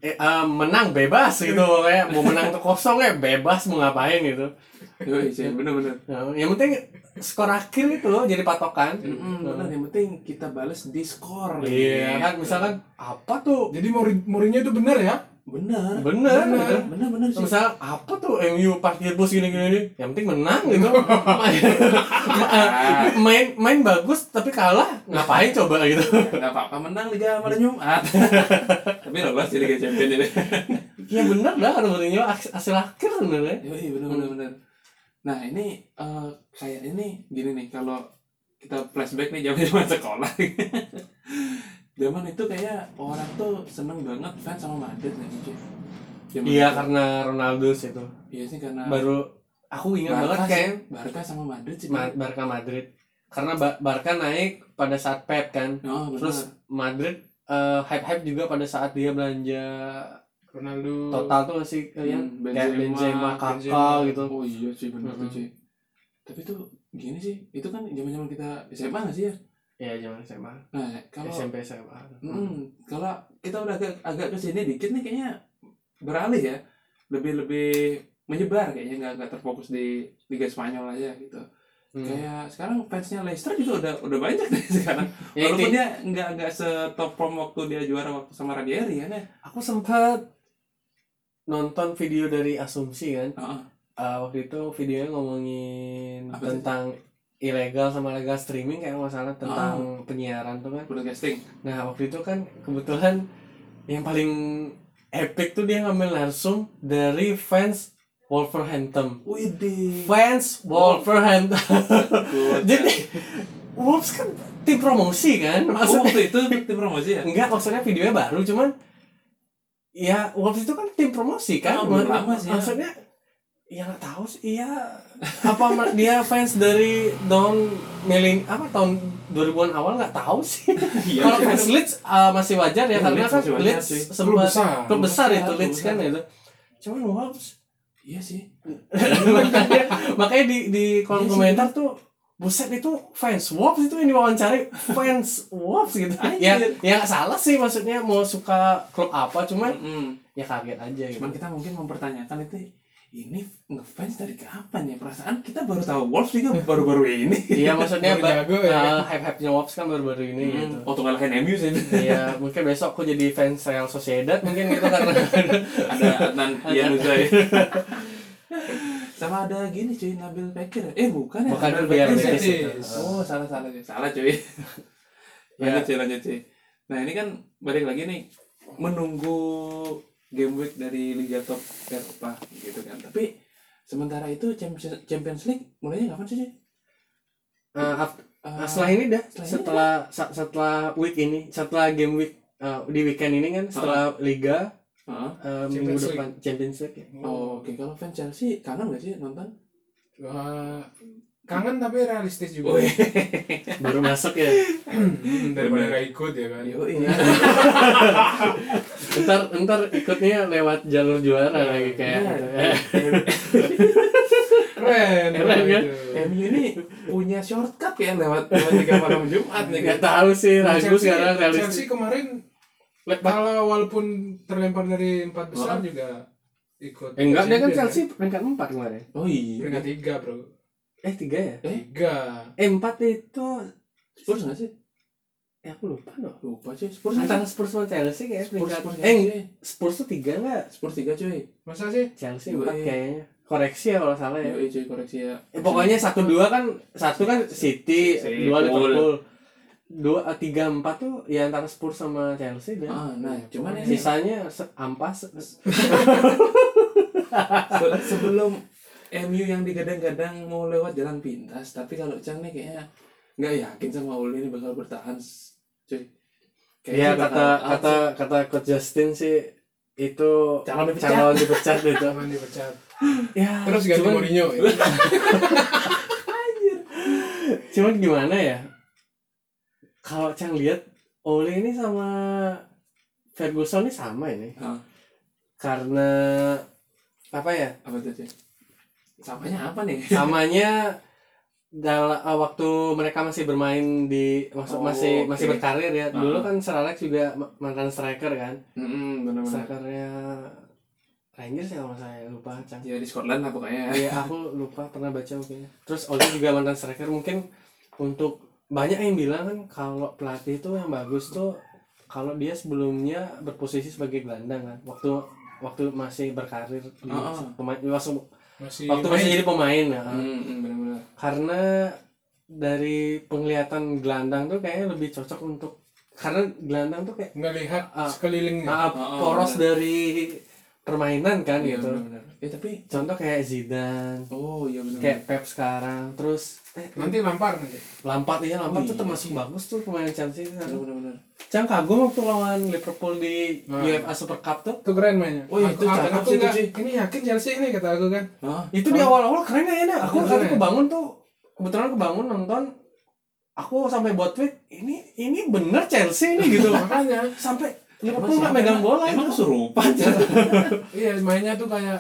B: eh, eh, menang bebas gitu kayak mau menang tuh kosong ya bebas mau ngapain gitu
A: <laughs> Yoi, sih, bener-bener.
B: Nah, yang penting skor akhir itu loh jadi patokan Nah,
A: Mm-mm, Hmm, bener, yang penting kita Ya, balas di skor.
B: iya kan misalkan apa tuh
C: Jadi Mourin- Mourinho itu benar ya?
A: bener,
B: bener,
A: bener,
B: gitu.
A: bener, bener sih.
B: Misal apa tuh MU parkir bus gini gini, gini. yang penting menang gitu. main,
A: <laughs>
B: main main bagus tapi kalah ngapain coba gitu.
A: Gak apa-apa menang Liga Ah. malam Jumat Tapi lolos di Liga Champions ini
B: Ya bener lah kalau Mourinho aks- hasil akhir sebenarnya.
A: Yoi bener bener bener Nah ini eh, kayak ini gini nih kalau kita flashback nih zaman <laughs> zaman sekolah Zaman itu kayak orang tuh seneng banget fans sama Madrid nih cuy Zaman
B: Iya
A: itu.
B: karena Ronaldo sih itu.
A: Iya sih karena
B: Baru aku ingat banget
A: Barca,
B: kayak
A: sih. Barca sama Madrid sih
B: Ma- Barca Madrid. Karena Ba- Barca naik pada saat Pep kan.
A: Oh, bener.
B: Terus Madrid eh, hype-hype juga pada saat dia belanja
C: Ronaldo.
B: total tuh sih eh, yang
A: Hmm,
B: kayak
A: Benzema,
B: Benzema,
C: Benzema.
B: Kakak gitu.
A: Oh iya sih bener tuh
B: Mhm.
A: cuy Tapi tuh gini sih itu kan zaman zaman kita SMA gak sih ya
B: Iya zaman SMA,
A: Nah kalau
B: SMP SMA.
A: Hmm, kalau kita udah agak agak ke sini dikit nih kayaknya beralih ya. Lebih lebih menyebar kayaknya nggak nggak terfokus di Liga Spanyol aja gitu.
B: Hmm.
A: Kayak sekarang fansnya Leicester juga udah udah banyak nih <laughs> sekarang.
B: Ya,
A: Walaupun
B: inti-
A: dia nggak nggak setop form waktu dia juara waktu sama Ranieri kan ya.
B: aku sempat nonton video dari Asumsi kan.
A: Heeh.
B: Eh, waktu itu videonya ngomongin
A: Apa sih?
B: tentang ilegal sama legal streaming kayak masalah
A: Oh.
B: tentang penyiaran tuh kan.
A: broadcasting.
B: Nah, waktu itu kan kebetulan yang paling epic tuh dia ngambil langsung dari fans Wolverhampton.
A: Widih.
B: Fans Wolverhampton. Jadi Wolves kan tim promosi kan?
A: Oh,
B: Maksudnya
A: waktu itu tim promosi ya?
B: enggak maksudnya videonya baru cuman ya Wolves itu kan tim promosi kan?
A: Oh, belum lama sih, ya.
B: maksudnya ya nggak tahu sih iya apa mer- <laughs> dia fans dari tahun miling apa tahun 2000-an awal nggak tahu sih.
A: Iya.
B: Kalau fans Leeds uh, masih wajar ya
A: Iya,
B: karena
A: Leeds
B: kan
A: masih wajar
B: Leeds
A: sih.
C: Klub
B: sempat klub
C: besar.
B: besar
A: Klub
B: itu
A: besar,
B: Leeds
A: klub
B: kan itu. Cuman Wolves
A: Iya sih.
B: <laughs> makanya makanya di di
A: Iya
B: kolom
A: sih.
B: komentar tuh buset itu fans Wolves itu yang diwawancari fans Wolves gitu ya
A: <laughs> Anjir.
B: ya nggak salah sih maksudnya mau suka klub apa cuman
A: Mm.
B: ya kaget aja gitu
A: cuman kita mungkin mempertanyakan itu ini ngefans dari kapan ya perasaan kita baru tahu Wolves juga baru-baru ini <laughs>
B: iya maksudnya
C: Baru jago ya.
B: hype hype nya Wolves kan baru-baru ini gitu
A: waktu ngalahin MU sih
B: Iya, mungkin besok aku jadi fans Real Sociedad mungkin gitu
A: <laughs>
B: karena
A: ada Adnan Yanuza ya sama ada gini cuy Nabil Fekir eh bukan ya
B: bukan
A: Nabil
B: biar Iya.
A: Fekir
C: Betis.
A: sih. oh salah salah cuy salah cuy lanjut
B: Ya.
A: cuy lanjut cuy nah ini kan balik lagi nih menunggu game week dari Liga Top Eropa gitu kan tapi sementara itu Champions Champions League mulainya kapan sih cuy?
B: Nah,
A: Eh,
B: setelah ini dah
A: setelah ini
B: setelah sa- setelah week ini setelah game week eh, di weekend ini kan setelah
A: Ah.
B: liga
A: Heeh.
B: eh,
C: Champions
B: minggu
C: League.
B: depan Champions League ya.
A: Oh, Oke, kalau fans Chelsea kangen gak sih
B: <laughs>
A: nonton?
C: Wah, kangen tapi realistis juga.
A: Oh iya.
B: baru masuk ya
C: Hmm, Daripada
A: Bener.
C: nggak ikut ya kan.
A: Yo, iya.
B: ntar ntar ikutnya lewat jalur juara lagi kayak
A: Iya,
B: gitu. Eh,
C: Keren.
B: Keren kan?
C: Aduh.
A: MU ini punya shortcut ya lewat lewat tiga malam Jumat nih
B: nggak
A: kan.
B: tahu sih ragu
C: Chelsea-
B: sekarang
C: Chelsea
B: realistis
C: kemarin
B: Lepak.
C: kalau walaupun terlempar dari empat besar
A: Oh.
C: juga ikut.
B: Eh, enggak dia kan
C: Champions, ya.
B: Chelsea peringkat empat kemarin
A: Oh
C: kan?
A: iya.
C: Peringkat tiga bro.
B: eh tiga ya
A: Eh?
C: Tiga.
B: eh empat itu
A: Spurs nggak sih?
B: eh aku lupa dong
A: lupa cuy Spurs
B: antara
A: entah
B: Spurs sama Chelsea kayaknya
A: Spurs
B: peringkat
A: Spurs
B: eh
A: eh
B: Spurs tuh tiga nggak
A: Spurs tiga cuy
C: Masa sih?
B: Chelsea
A: Yoi.
B: empat kayaknya koreksi ya kalau salah ya
A: Yoi cuy koreksi ya
B: Eh, pokoknya satu dua kan satu kan City
A: City,
B: dua
A: Liverpool.
B: Liverpool dua eh, tiga empat tuh ya antara Spurs sama Chelsea dan
A: ah nah cuman ini
B: sisanya se- ampas
A: Se- sebelum MU yang digadang-gadang mau lewat jalan pintas tapi kalau Chang nih kayaknya nggak yakin sama Uli ini bakal bertahan s- cuy Kayaknya
B: ya kata
A: bakal
B: kata kata Coach Justin sih itu
A: Calon dipecat.
B: calon dipecat
A: <laughs>
B: itu
C: Jangan dipecat.
B: ya
A: Ah,
C: Terus ganti
B: cuman,
C: Mourinho. Ya.
B: cuman gimana ya kalau Chang lihat Ole ini sama Ferguson ini sama ini
A: Hah,
B: karena apa ya
A: apa tuh cuy samanya apa nih
B: samanya dalam waktu mereka masih bermain di masuk
A: Oh,
B: masih
A: oke.
B: masih berkarir ya
A: Ah.
B: dulu kan Sir Alex juga ma- mantan striker kan
A: hmm, benar-benar
B: strikernya Rangers ya kalau saya lupa Cang.
A: ya di Scotland lah pokoknya
B: ya aku lupa pernah baca mungkin terus Oli juga mantan striker mungkin untuk banyak yang bilang kan kalau pelatih itu yang bagus tuh kalau dia sebelumnya berposisi sebagai gelandang kan waktu waktu masih berkarir di
A: Ah, ah.
B: pemain waktu
C: Masih
B: waktu
C: main.
B: masih jadi pemain ya
A: hmm, hmm, benar-benar
B: karena dari penglihatan gelandang tuh kayaknya lebih cocok untuk karena gelandang tuh kayak
C: ngelihat
B: Ah.
C: sekelilingnya.
B: ah,
A: Oh,
B: poros dari permainan kan
A: Iya,
B: gitu
A: benar-benar ya tapi
B: contoh kayak Zidane
A: oh iya benar
B: kayak Pep sekarang terus eh,
C: Nanti lampar nanti.
B: Lampard iya Lampard tuh
A: Iya.
B: termasuk bagus tuh pemain Chelsea sekarang.
A: benar-benar
B: Cang kagum waktu lawan Liverpool di
C: Nah.
B: UEFA Super Cup tuh
C: Itu keren mainnya.
A: Oh, iya, itu
C: aku,
A: cakep
C: aku
A: sih, itu
C: nggak-
A: sih.
C: Ini yakin Chelsea ini kata aku kan.
A: Hah?
B: itu di awal-awal keren kayaknya aku
A: Iya,
C: Keren,
B: kan
C: keren.
B: kebangun tuh kebetulan kebangun nonton aku sampai buat tweet ini ini bener Chelsea ini gitu
A: <laughs>
C: Makanya
B: sampai
A: Emang
B: Liverpool nggak
A: siapa?
B: megang bola
A: emang
B: itu
A: kesurupan Cang?
C: iya mainnya tuh kayak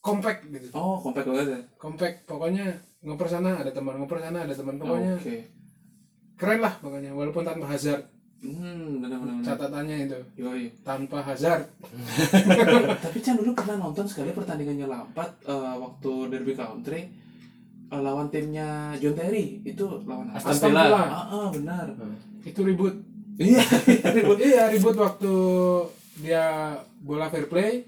C: compact gitu.
A: oh kompak banget ya
C: Compact pokoknya ngoper sana ada teman, ngoper sana ada teman pokoknya.
A: oke
C: Keren lah pokoknya walaupun tanpa hazard.
A: hmm benar-benar
C: Catatannya itu
A: yoi
C: tanpa hazard.
A: tapi Chan dulu pernah nonton sekali pertandingannya Lampard eh, waktu Derby Country eh, lawan timnya John Terry itu lawan apa?
B: Aston Villa.
A: Ah, ah, benar.
C: Itu ribut.
A: Iya.
C: <laughs> ribut iya ribut waktu dia bola fair play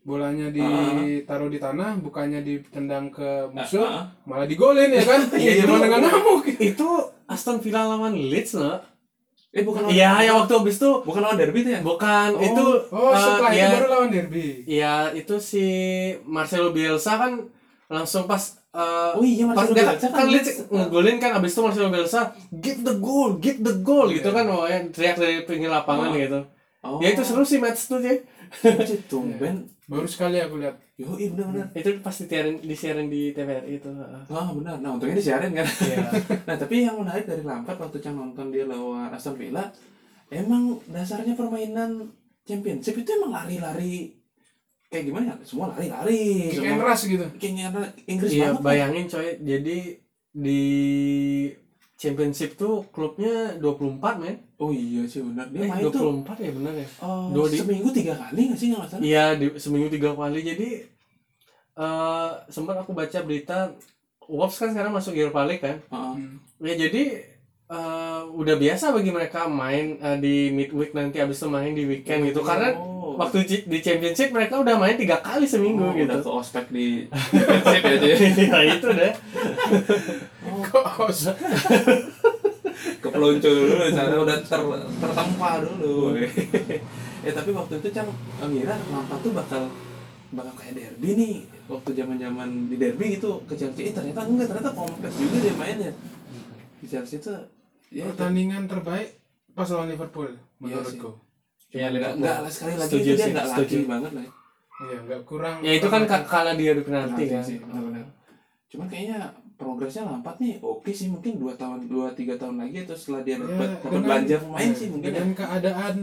C: bolanya ditaruh di tanah bukannya ditendang ke musuh
A: Ah, ah.
C: malah digolin ya
A: <laughs>
C: kan
B: Iya, itu-
C: iya gimana nggak ngamuk
B: itu Aston Villa lawan Leeds loh
A: Eh bukan lawan.
B: iya yang waktu abis tuh
A: Bukan lawan Derby itu ya?
B: bukan
A: Oh,
B: itu
C: oh
B: eh,
C: setelah
A: iya.
B: ya,
C: itu baru lawan derby
B: ya, itu si Marcelo Bielsa kan langsung pas eh,
A: Oh iya
B: pas
A: Marcelo
B: dia
A: Bielsa
B: kan
A: kan
B: Leeds
A: Leeds.
B: ngegolin kan abis itu Marcelo Bielsa get the goal get the goal gitu
C: Iya.
B: kan oh ya teriak dari pinggir
A: Oh.
B: lapangan gitu
A: Oh.
B: ya itu seru sih match tuh sih
A: Cuy, Tumben.
C: baru sekali aku lihat
A: Yo, iya benar-benar.
B: itu pasti disiarin disiarin di TVRI itu heeh.
A: Ah benar. Nah untungnya disiarin kan. <laughs>
B: Iya.
A: Nah tapi yang menarik dari Lampard waktu Chan nonton dia lawan Aston Villa, emang dasarnya permainan Championship itu emang lari-lari kayak gimana ya? Semua lari-lari.
C: kick and
A: Semua
C: rush gitu <laughs>
A: kayaknya ada Inggris
B: iya
A: banget.
B: bayangin coy jadi di championship tuh klubnya 24 men
A: Oh iya sih benar. Dia
B: eh,
A: main tuh
B: 24 ya bener ya
A: eh,
B: dua di-
A: seminggu tiga kali nggak sih nggak salah?
B: iya di- seminggu tiga kali jadi eh sempat aku baca berita Wolves kan sekarang masuk Europa League kan
A: Heeh.
C: Hmm.
B: ya jadi eh, udah biasa bagi mereka main eh, di midweek nanti abis itu main di weekend gitu karena
A: Oh.
B: waktu ci- di championship mereka udah main tiga kali seminggu
A: Oh,
B: gitu
A: udah ke ospek
B: <laughs>
A: di Championship ya dia.
B: ya itu deh
C: kok
A: Iya,
C: kos
A: Kepeluncur dulu di sana udah ter tertempa dulu. <laughs> ya tapi waktu itu Cang ngira Lampard tuh bakal bakal kayak derby nih waktu zaman-zaman di derby gitu ke Chelsea eh, ternyata enggak ternyata kompleks juga dia mainnya di Chelsea tuh ya itu.
C: pertandingan terbaik pas lawan
A: Iya
C: liverpool menurutku
B: ya,
A: enggak enggak lah sekali lagi
B: Setuju
A: itu dia
B: sih,
A: enggak
B: setuju.
A: laki banget lah ya.
C: iya nggak kurang Iya,
B: ya itu kan ka- kalah dia adu
A: nanti
B: penalti kan
A: sih benar-benar cuman kayaknya progresnya lambat nih oke sih mungkin dua tahun dua tiga tahun lagi atau setelah dia
C: Ya,
A: dapat
C: dengan-
A: belanja pemain
C: ya,
A: sih mungkin ya
C: dengan keadaan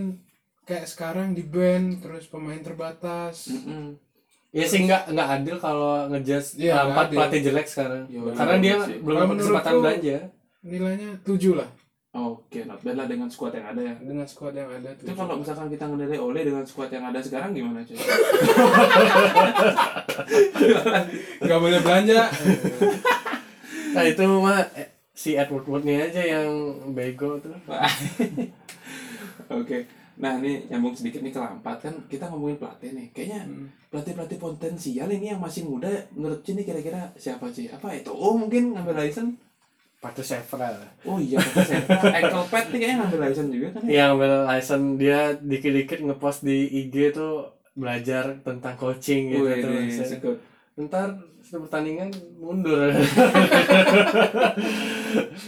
C: kayak sekarang di band terus pemain terbatas
A: Mm-mm.
B: ya sih nggak nggak adil kalau ngejudge
C: Iya, nggak
B: Lampard
C: adil.
B: pelatih jelek sekarang
A: Yo,
B: karena
A: yo,
B: dia
A: sih.
B: belum
C: Kalau
B: dapat kesempatan
C: menurutku-
B: belanja
C: nilainya 7 lah
A: oke not bad lah dengan squad yang ada ya
C: dengan squad yang ada
A: itu
C: tujuh.
A: kalau misalkan kita ngedelay oleh dengan squad yang ada sekarang gimana cuy
C: nggak boleh belanja
B: nah itu mah eh, si Edward Woodnya aja yang bego tuh
A: <laughs> Oke. Nah, ini nyambung sedikit nih ke Lampat kan kita ngomongin pelatih nih. Kayaknya
C: Hmm.
A: pelatih-pelatih potensial ini yang masih muda menurut Cini kira-kira siapa sih? Apa itu? Oh, mungkin ngambil license.
B: Patrice Evra
A: Oh iya, kata <laughs> saya. Ankle pad nih kayaknya ngambil license juga kan. ya?
B: yang ambil license dia dikit-dikit ngepost di IG tuh belajar tentang coaching gitu
A: Wih, iya,
B: tuh
A: ini
B: Saya-
A: sekut.
B: ntar setelah pertandingan
A: <laughs>
B: mundur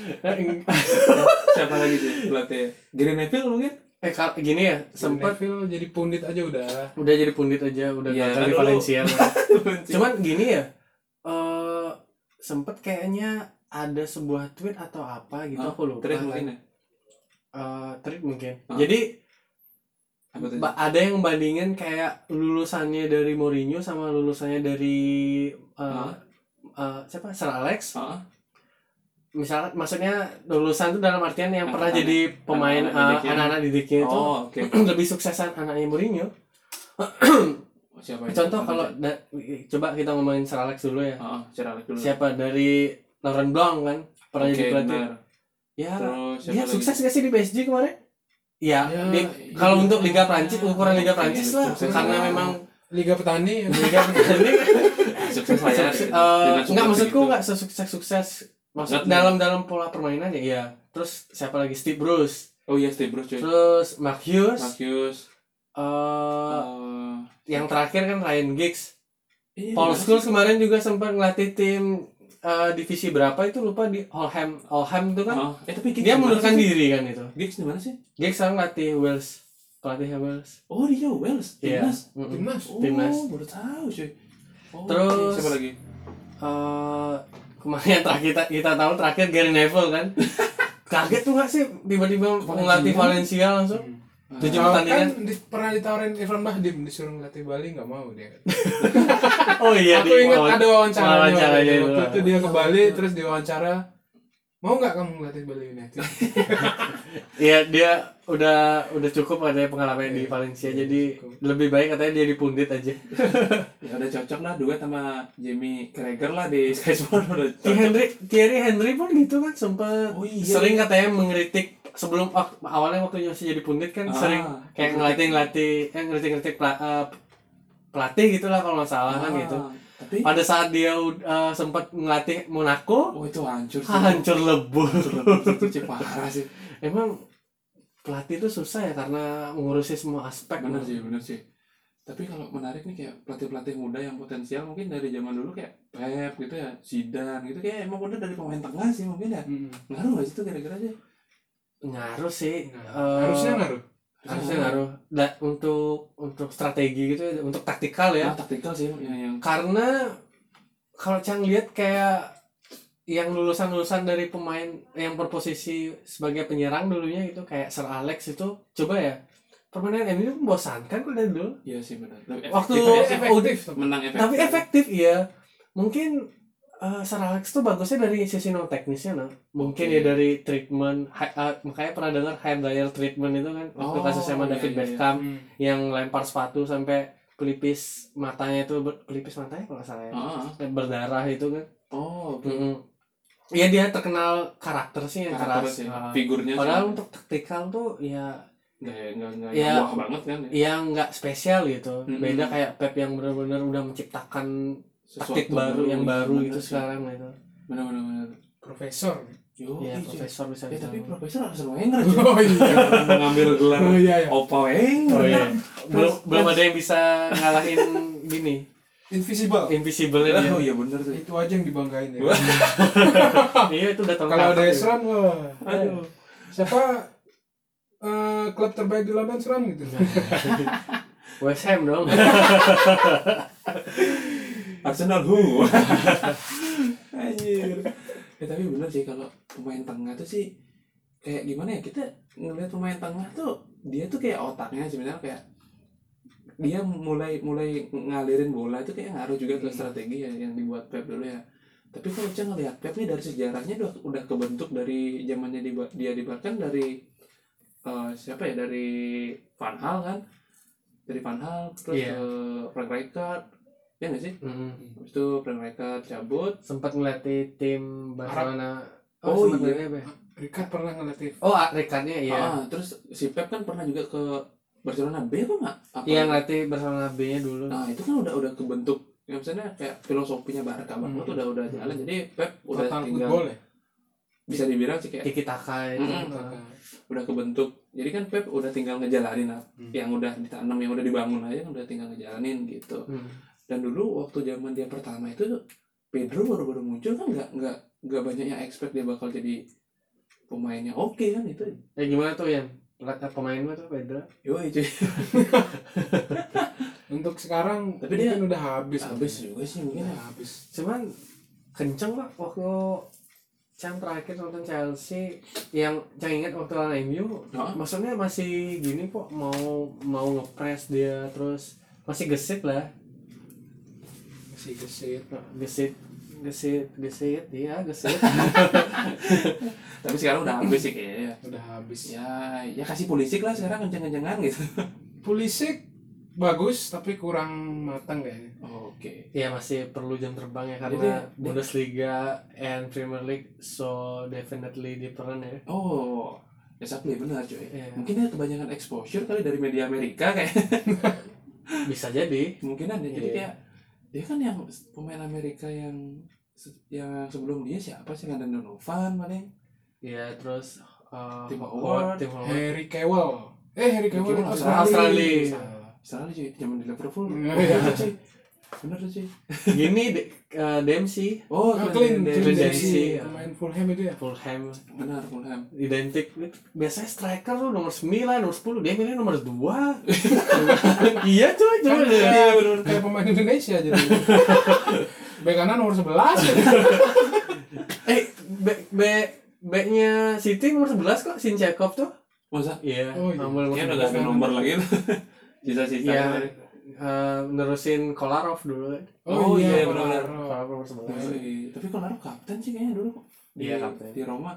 B: Eh,
A: Siapa lagi sih pelatih? Gary Neville mungkin? <laughs>
B: eh kar- gini ya sempat
C: Neville jadi pundit aja udah
B: udah jadi pundit aja udah
A: Iya,
B: gagal
A: kan
B: di
A: dulu. <laughs>
B: Valencia cuman gini ya eh sempat kayaknya ada sebuah tweet atau apa gitu
A: Ah,
B: aku lupa
A: Terus
B: kan.
A: mungkin ya?
B: Eh, tweet mungkin
A: Ah.
B: jadi
A: Apa tuh?
B: ba- ada yang bandingin kayak lulusannya dari Mourinho sama lulusannya dari eh,
A: Ah.
B: eh, siapa Sir Alex
A: Ah,
B: misalnya maksudnya lulusan itu dalam artian yang pernah
A: Anak-anak-
B: jadi pemain
A: anak-anak
B: eh,
A: ya. didiknya.
B: anak-anak didiknya itu
A: Oh, oke.
B: <clears throat> lebih suksesan anaknya Mourinho.
A: Siapa itu?
B: Contoh
A: iya. Apa
B: kalau
A: tuh?
B: da- coba kita ngomongin Sir Alex dulu ya.
A: Ah, Sir Alex dulu.
B: Siapa dari Laurent Blanc kan pernah
A: Oke,
B: jadi pelatih.
A: benar.
B: Ya,
A: Terus siapa
B: dia
A: lagi?
B: sukses gak sih di PSG kemarin? Ya,
C: Ya,
B: dia-
C: iya.
B: kalau untuk Liga Prancis ukuran Liga
A: Iya,
B: Prancis lah
A: sukses
B: karena
C: lah.
B: memang
C: Liga Petani
B: Liga
A: <laughs>
B: Prancis
A: Sukses lah ya. gitu.
B: Sukses-
A: Dengan
B: eh,
A: sukses
B: enggak maksudku
A: begitu.
B: enggak sesukses sukses maksud
A: Enggak.
B: dalam dalam pola permainannya ya. Terus siapa lagi Steve Bruce,
A: Oh iya, Steve Bruce cuy.
B: terus Mark Hughes,
A: Marcus.
B: eh,
A: eh,
B: yang terakhir kan Ryan Giggs.
A: iya,
B: Paul
A: gimana
B: Scholes
A: sih?
B: kemarin juga sempat ngelatih tim eh, divisi berapa itu lupa di Oldham. Oldham itu kan
A: Ah, eh tapi Giggs
B: dia
A: di mana
B: mundurkan
A: sih?
B: diri kan itu.
A: Giggs di mana sih?
B: Giggs sekarang ngelatih Wales. Pelatihnya Wales.
A: Oh dia Wales,
B: Iya.
A: timnas.
B: Mm-mm.
C: timnas.
A: Oh,
B: Timnas.
A: baru tahu cuy. Oh,
B: Terus-
A: siapa lagi?
B: Eh, kemarin yang terakhir kita, kita tahu terakhir Gary Neville
C: <laughs>
B: kan. Kaget tuh gak sih tiba-tiba ngelatih Valencia langsung? Tujuh
C: Kalau
B: pertandingan.
C: kan di- pernah ditawarin Irfan Bahdim disuruh ngelatih Bali nggak mau dia.
B: <laughs> Oh iya
C: kan Aku ingat
B: wawan-
C: ada wawancaranya waktu
B: wawancaranya
C: itu.
B: itu.
C: Waktu itu dia ke Bali terus diwawancara mau nggak kamu ngelatih Bali United?
B: Iya dia udah udah cukup katanya pengalaman di Valencia jadi
C: Iya, cukup.
B: lebih baik katanya dia dipundit aja.
A: Ya udah cocok lah duet sama Jamie Carragher lah di Sky Sport <laughs> udah cocok.
B: Thierry Henry, Thierry Henry pun gitu kan sempat
A: Oh iya.
B: sering katanya mengkritik sebelum wak- awalnya waktu masih jadi pundit kan
A: Ah,
B: sering
C: iya,
B: kayak ngelatih ngelatih eh, ngeritik ngeritik pelatih gitulah kalau nggak salah kan
A: Ah,
B: gitu.
A: Tapi
B: Pada saat dia uh, sempat ngelatih Monaco
A: oh itu hancur sih.
B: hancur lebur.
A: Hancur lebur sih, itu cuy, parah sih.
B: Emang pelatih itu susah ya karena ngurusi semua aspek.
A: Bener sih, bener sih. Tapi kalau menarik nih kayak pelatih-pelatih muda yang potensial mungkin dari zaman dulu kayak Pep gitu ya, Zidane gitu kayak emang bener dari pemain tengah sih mungkin ya.
C: Hmm.
A: Ngaruh gak sih tuh kira-kira aja?
B: Ngaruh sih.
C: Nah,
B: eh,
C: harusnya ngaruh.
B: harusnya ngaruh. Da- untuk untuk strategi gitu, ya, untuk taktikal ya.
A: Ya, taktikal sih yang, yang
B: karena kalau Cang lihat kayak yang lulusan-lulusan dari pemain yang berposisi sebagai penyerang dulunya itu kayak Sir Alex itu coba ya permainan MU itu membosankan kok dari dulu
A: iya sih benar. Lebih
B: Waktu-
A: efektif aja
C: Tapi
A: sih.
C: efektif.
A: menang efektif.
B: tapi efektif iya mungkin eh, Sir Alex tuh bagusnya dari sisi non teknisnya nah mungkin
A: Oke.
B: ya dari treatment hi- eh, makanya pernah dengar high dryer treatment itu kan waktu
A: Oh,
B: kasusnya sama
A: iya,
B: David
A: iya, iya.
B: Beckham
C: Hmm.
B: yang lempar sepatu sampai pelipis matanya itu ber- pelipis matanya kalau nggak salah ya
A: Ah, ah.
B: berdarah itu kan
A: Oh, oke.
B: Mm-mm. Iya dia terkenal karakter sih yang
A: karakter
B: keras.
A: sih. ya,
B: Ah.
A: Figurnya
B: Padahal untuk taktikal tuh ya
A: nggak nggak nggak
B: Ya.
A: wah banget kan ya.
B: ya nggak spesial gitu.
A: Mm-mm.
B: Beda kayak Pep yang benar-benar udah menciptakan taktik baru yang baru gitu sekarang gitu.
A: Benar benar benar.
C: Profesor.
A: Yo, iya,
B: Iya
A: cuy.
B: profesor bisa
A: Ya, tapi
B: dibilang.
A: profesor harus Wenger
B: <laughs>
A: cuy.
C: Oh
A: <laughs>
C: iya.
A: Jangan mengambil gelar
C: Oh iya ya.
A: Opa Wenger.
B: Oh iya. belum belum ada yang bisa ngalahin gini
C: Invisible.
A: Oh,
B: invisible dia.
A: iya, benar tuh.
C: Itu aja yang dibanggain ya.
A: Wah.
B: Iya itu udah
C: Kalau
B: terangkat.
C: ada Esran wah.
A: Aduh.
C: Siapa eh, klub terbaik di London Esran gitu.
B: West Ham dong.
A: Arsenal who? <laughs> Anjir. Ya, tapi bener sih kalau pemain tengah tuh sih kayak gimana ya kita ngelihat pemain tengah tuh dia tuh kayak otaknya sebenarnya kayak dia mulai mulai ngalirin bola itu kayak ngaruh juga ke strategi ya, yang dibuat Pep dulu ya. Tapi kalau Cang ngelihat Pep nih dari sejarahnya udah udah kebentuk dari zamannya di, dia di Barca kan dari eh, siapa ya dari Van Hal kan dari Van Hal terus
B: Iya.
A: eh, Frank Rijkaard ya nggak sih
B: Mm-mm.
A: Habis itu Frank Rijkaard cabut.
B: Sempat ngelatih tim Barcelona
A: Oh,
B: sempet
A: iya.
B: ngeliat ya.
C: Ricard pernah ngelatih
B: Oh, ah, rekannya iya.
A: Ah, terus si Pep kan pernah juga ke Barcelona B apa nggak? Apa?
B: Iya ngelatih bersama B-nya dulu.
A: Nah itu kan udah udah kebentuk ya misalnya kayak filosofinya Barca banget
C: Hmm.
A: udah udah jalan jadi Pep udah
C: total
A: tinggal
C: football ya
A: bisa dibilang sih kayak
B: Tiki Taka itu.
A: Mm-mm. udah kebentuk jadi kan Pep udah tinggal ngejalanin lah
C: Hmm.
A: yang udah ditanam yang udah dibangun aja kan udah tinggal ngejalanin gitu
B: Hmm.
A: dan dulu waktu zaman dia pertama itu Pedro baru-baru muncul kan nggak nggak nggak banyak yang expect dia bakal jadi pemainnya oke kan itu
B: Ya gimana tuh Yan? Ngeliat pemain lu tuh Pedro.
A: yoi cuy
C: untuk sekarang
A: Tapi
C: tapi
A: dia-
C: mungkin udah habis
A: habis juga sih mungkin
C: udah
A: ya.
C: habis
B: Cuman kenceng pak waktu yang terakhir nonton Chelsea yang yang ingat waktu lawan MU
A: Hah?
B: maksudnya masih gini kok mau mau ngepres dia terus masih gesit lah
C: masih gesit
B: gesit gesit gesit iya gesit
A: <laughs> tapi sekarang udah habis sih kayaknya
C: udah habis
A: ya ya kasih polisi lah sekarang kenceng-kencengan gitu
C: Pulisic bagus tapi kurang matang kayaknya
A: oke
B: Iya masih perlu jam terbang ya
A: Jadi,
B: karena
A: dia-
B: Bundesliga and Premier League so definitely different ya.
A: Oh, exactly benar cuy.
B: Iya.
A: Mungkin dia kebanyakan exposure kali dari media Amerika kayak <laughs>
B: Bisa jadi.
A: kemungkinan ya. Jadi
B: Iya.
A: kayak dia kan yang pemain Amerika yang se- yang sebelum dia siapa sih kan Donovan paling
B: Ya terus uh,
A: Tim Howard.
B: Howard, Tim Howard.
C: Harry Kewell eh Harry
B: Iya,
C: Kewell
A: Oh. Kewell
C: itu
A: Australia.
C: Australia
A: Salah cuy, zaman di Liverpool.
C: Iya.
A: Bener tuh, cuy. Bener tuh cuy.
B: Gini de, uh, Dempsey,
A: Oh,
C: Ah,
A: Clint
C: Clint
A: Dempsey.
B: Clint Dempsey.
A: iya.
C: Dempsey
B: ya.
C: pemain Fulham itu ya
B: Fulham
A: Benar, Fulham.
B: identik. Biasanya striker tuh nomor 9, nomor 10, dia milih nomor 2. iya cuy,
C: Kan
B: cuy.
C: kayak, kayak pemain Indonesia jadi
A: <laughs>
C: bek kanan nomor 11
B: Eh, B B B-nya City nomor 11 kok Sinchekov tuh.
A: Masa?
B: Iya,
C: Oh, iya.
B: nomor
A: Kayaknya udah
B: 11.
A: gak ada nomor lagi tuh. <laughs> Sisa-sisa.
B: Iya.
A: kemarin.
B: Eh, nerusin Kolarov dulu kan.
A: Oh, iya, Oh, benar-benar.
C: Kolarov.
B: Kolarov nomor 11.
A: Yoi. Iya, Tapi kalau Laruh kapten sih kayaknya dulu kok. Di,
B: Iya, kapten.
A: di Roma.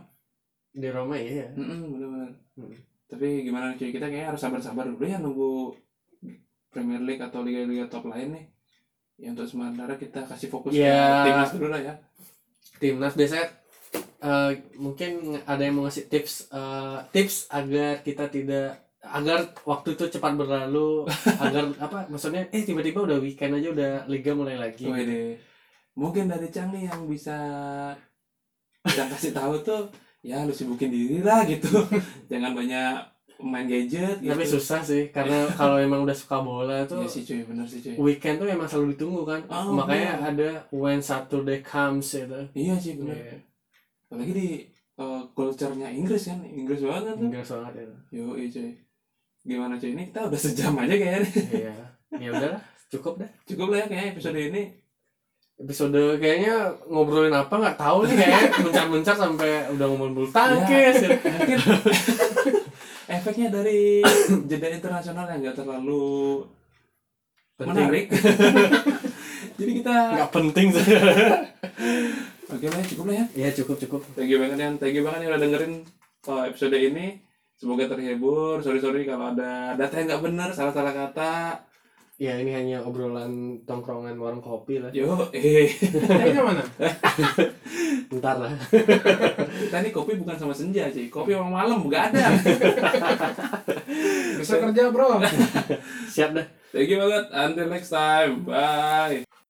B: Di Roma iya.
A: Mm-mm, benar-benar.
B: Hmm.
A: Tapi gimana cuy kita kayaknya harus sabar-sabar dulu ya nunggu Premier League atau liga-liga top lain nih. Ya untuk sementara kita kasih fokus
B: Ya.
A: ke timnas dulu lah ya.
B: Timnas biasanya eh, mungkin ada yang mau ngasih tips eh, tips agar kita tidak agar waktu itu cepat
A: <laughs>
B: berlalu agar apa maksudnya eh tiba-tiba udah weekend aja udah liga mulai lagi
A: Wede. Mungkin dari Cang nih yang bisa kita kasih tahu tuh ya lu sibukin diri lah gitu.
B: <laughs>
A: Jangan banyak main gadget gitu.
B: tapi susah sih
A: <laughs>
B: karena kalau emang udah suka bola tuh
A: Iya sih cuy, bener sih cuy.
B: weekend tuh emang selalu ditunggu kan
A: Oh,
B: makanya
A: bener.
B: ada when Saturday comes gitu
A: Iya sih bener.
B: Iya,
A: Apalagi di eh, culture-nya Inggris kan, Inggris banget kan tuh.
B: Inggris
A: <laughs>
B: banget itu
A: Yo, cuy. Gimana cuy ini kita udah sejam aja kayaknya. <laughs>
B: iya ya udahlah cukup dah
A: cukup lah ya kayaknya episode ini
B: episode kayaknya ngobrolin apa nggak tahu nih kayaknya <laughs> mencar-mencar sampai udah ngomongin bulu
A: Iya.
B: tangkis gitu.
A: mungkin Ya, <laughs> efeknya dari <coughs> jeda internasional yang nggak terlalu
B: penting <laughs>
A: menarik jadi kita
B: nggak penting sih <laughs>
A: oke lah ya, cukup lah ya
B: ya cukup cukup
A: thank you banget yang thank you banget yang udah dengerin uh, episode ini semoga terhibur sorry sorry kalau ada data yang nggak benar salah salah kata
B: ya ini hanya obrolan tongkrongan warung kopi lah
A: yo eh
C: Kayaknya mana?
B: ntar lah
A: <laughs>
B: <laughs>
A: kita ini kopi bukan sama senja sih kopi emang malam nggak
B: <laughs>
A: ada
C: Bisa kerja bro
B: siap dah
A: <laughs> thank you banget until next time bye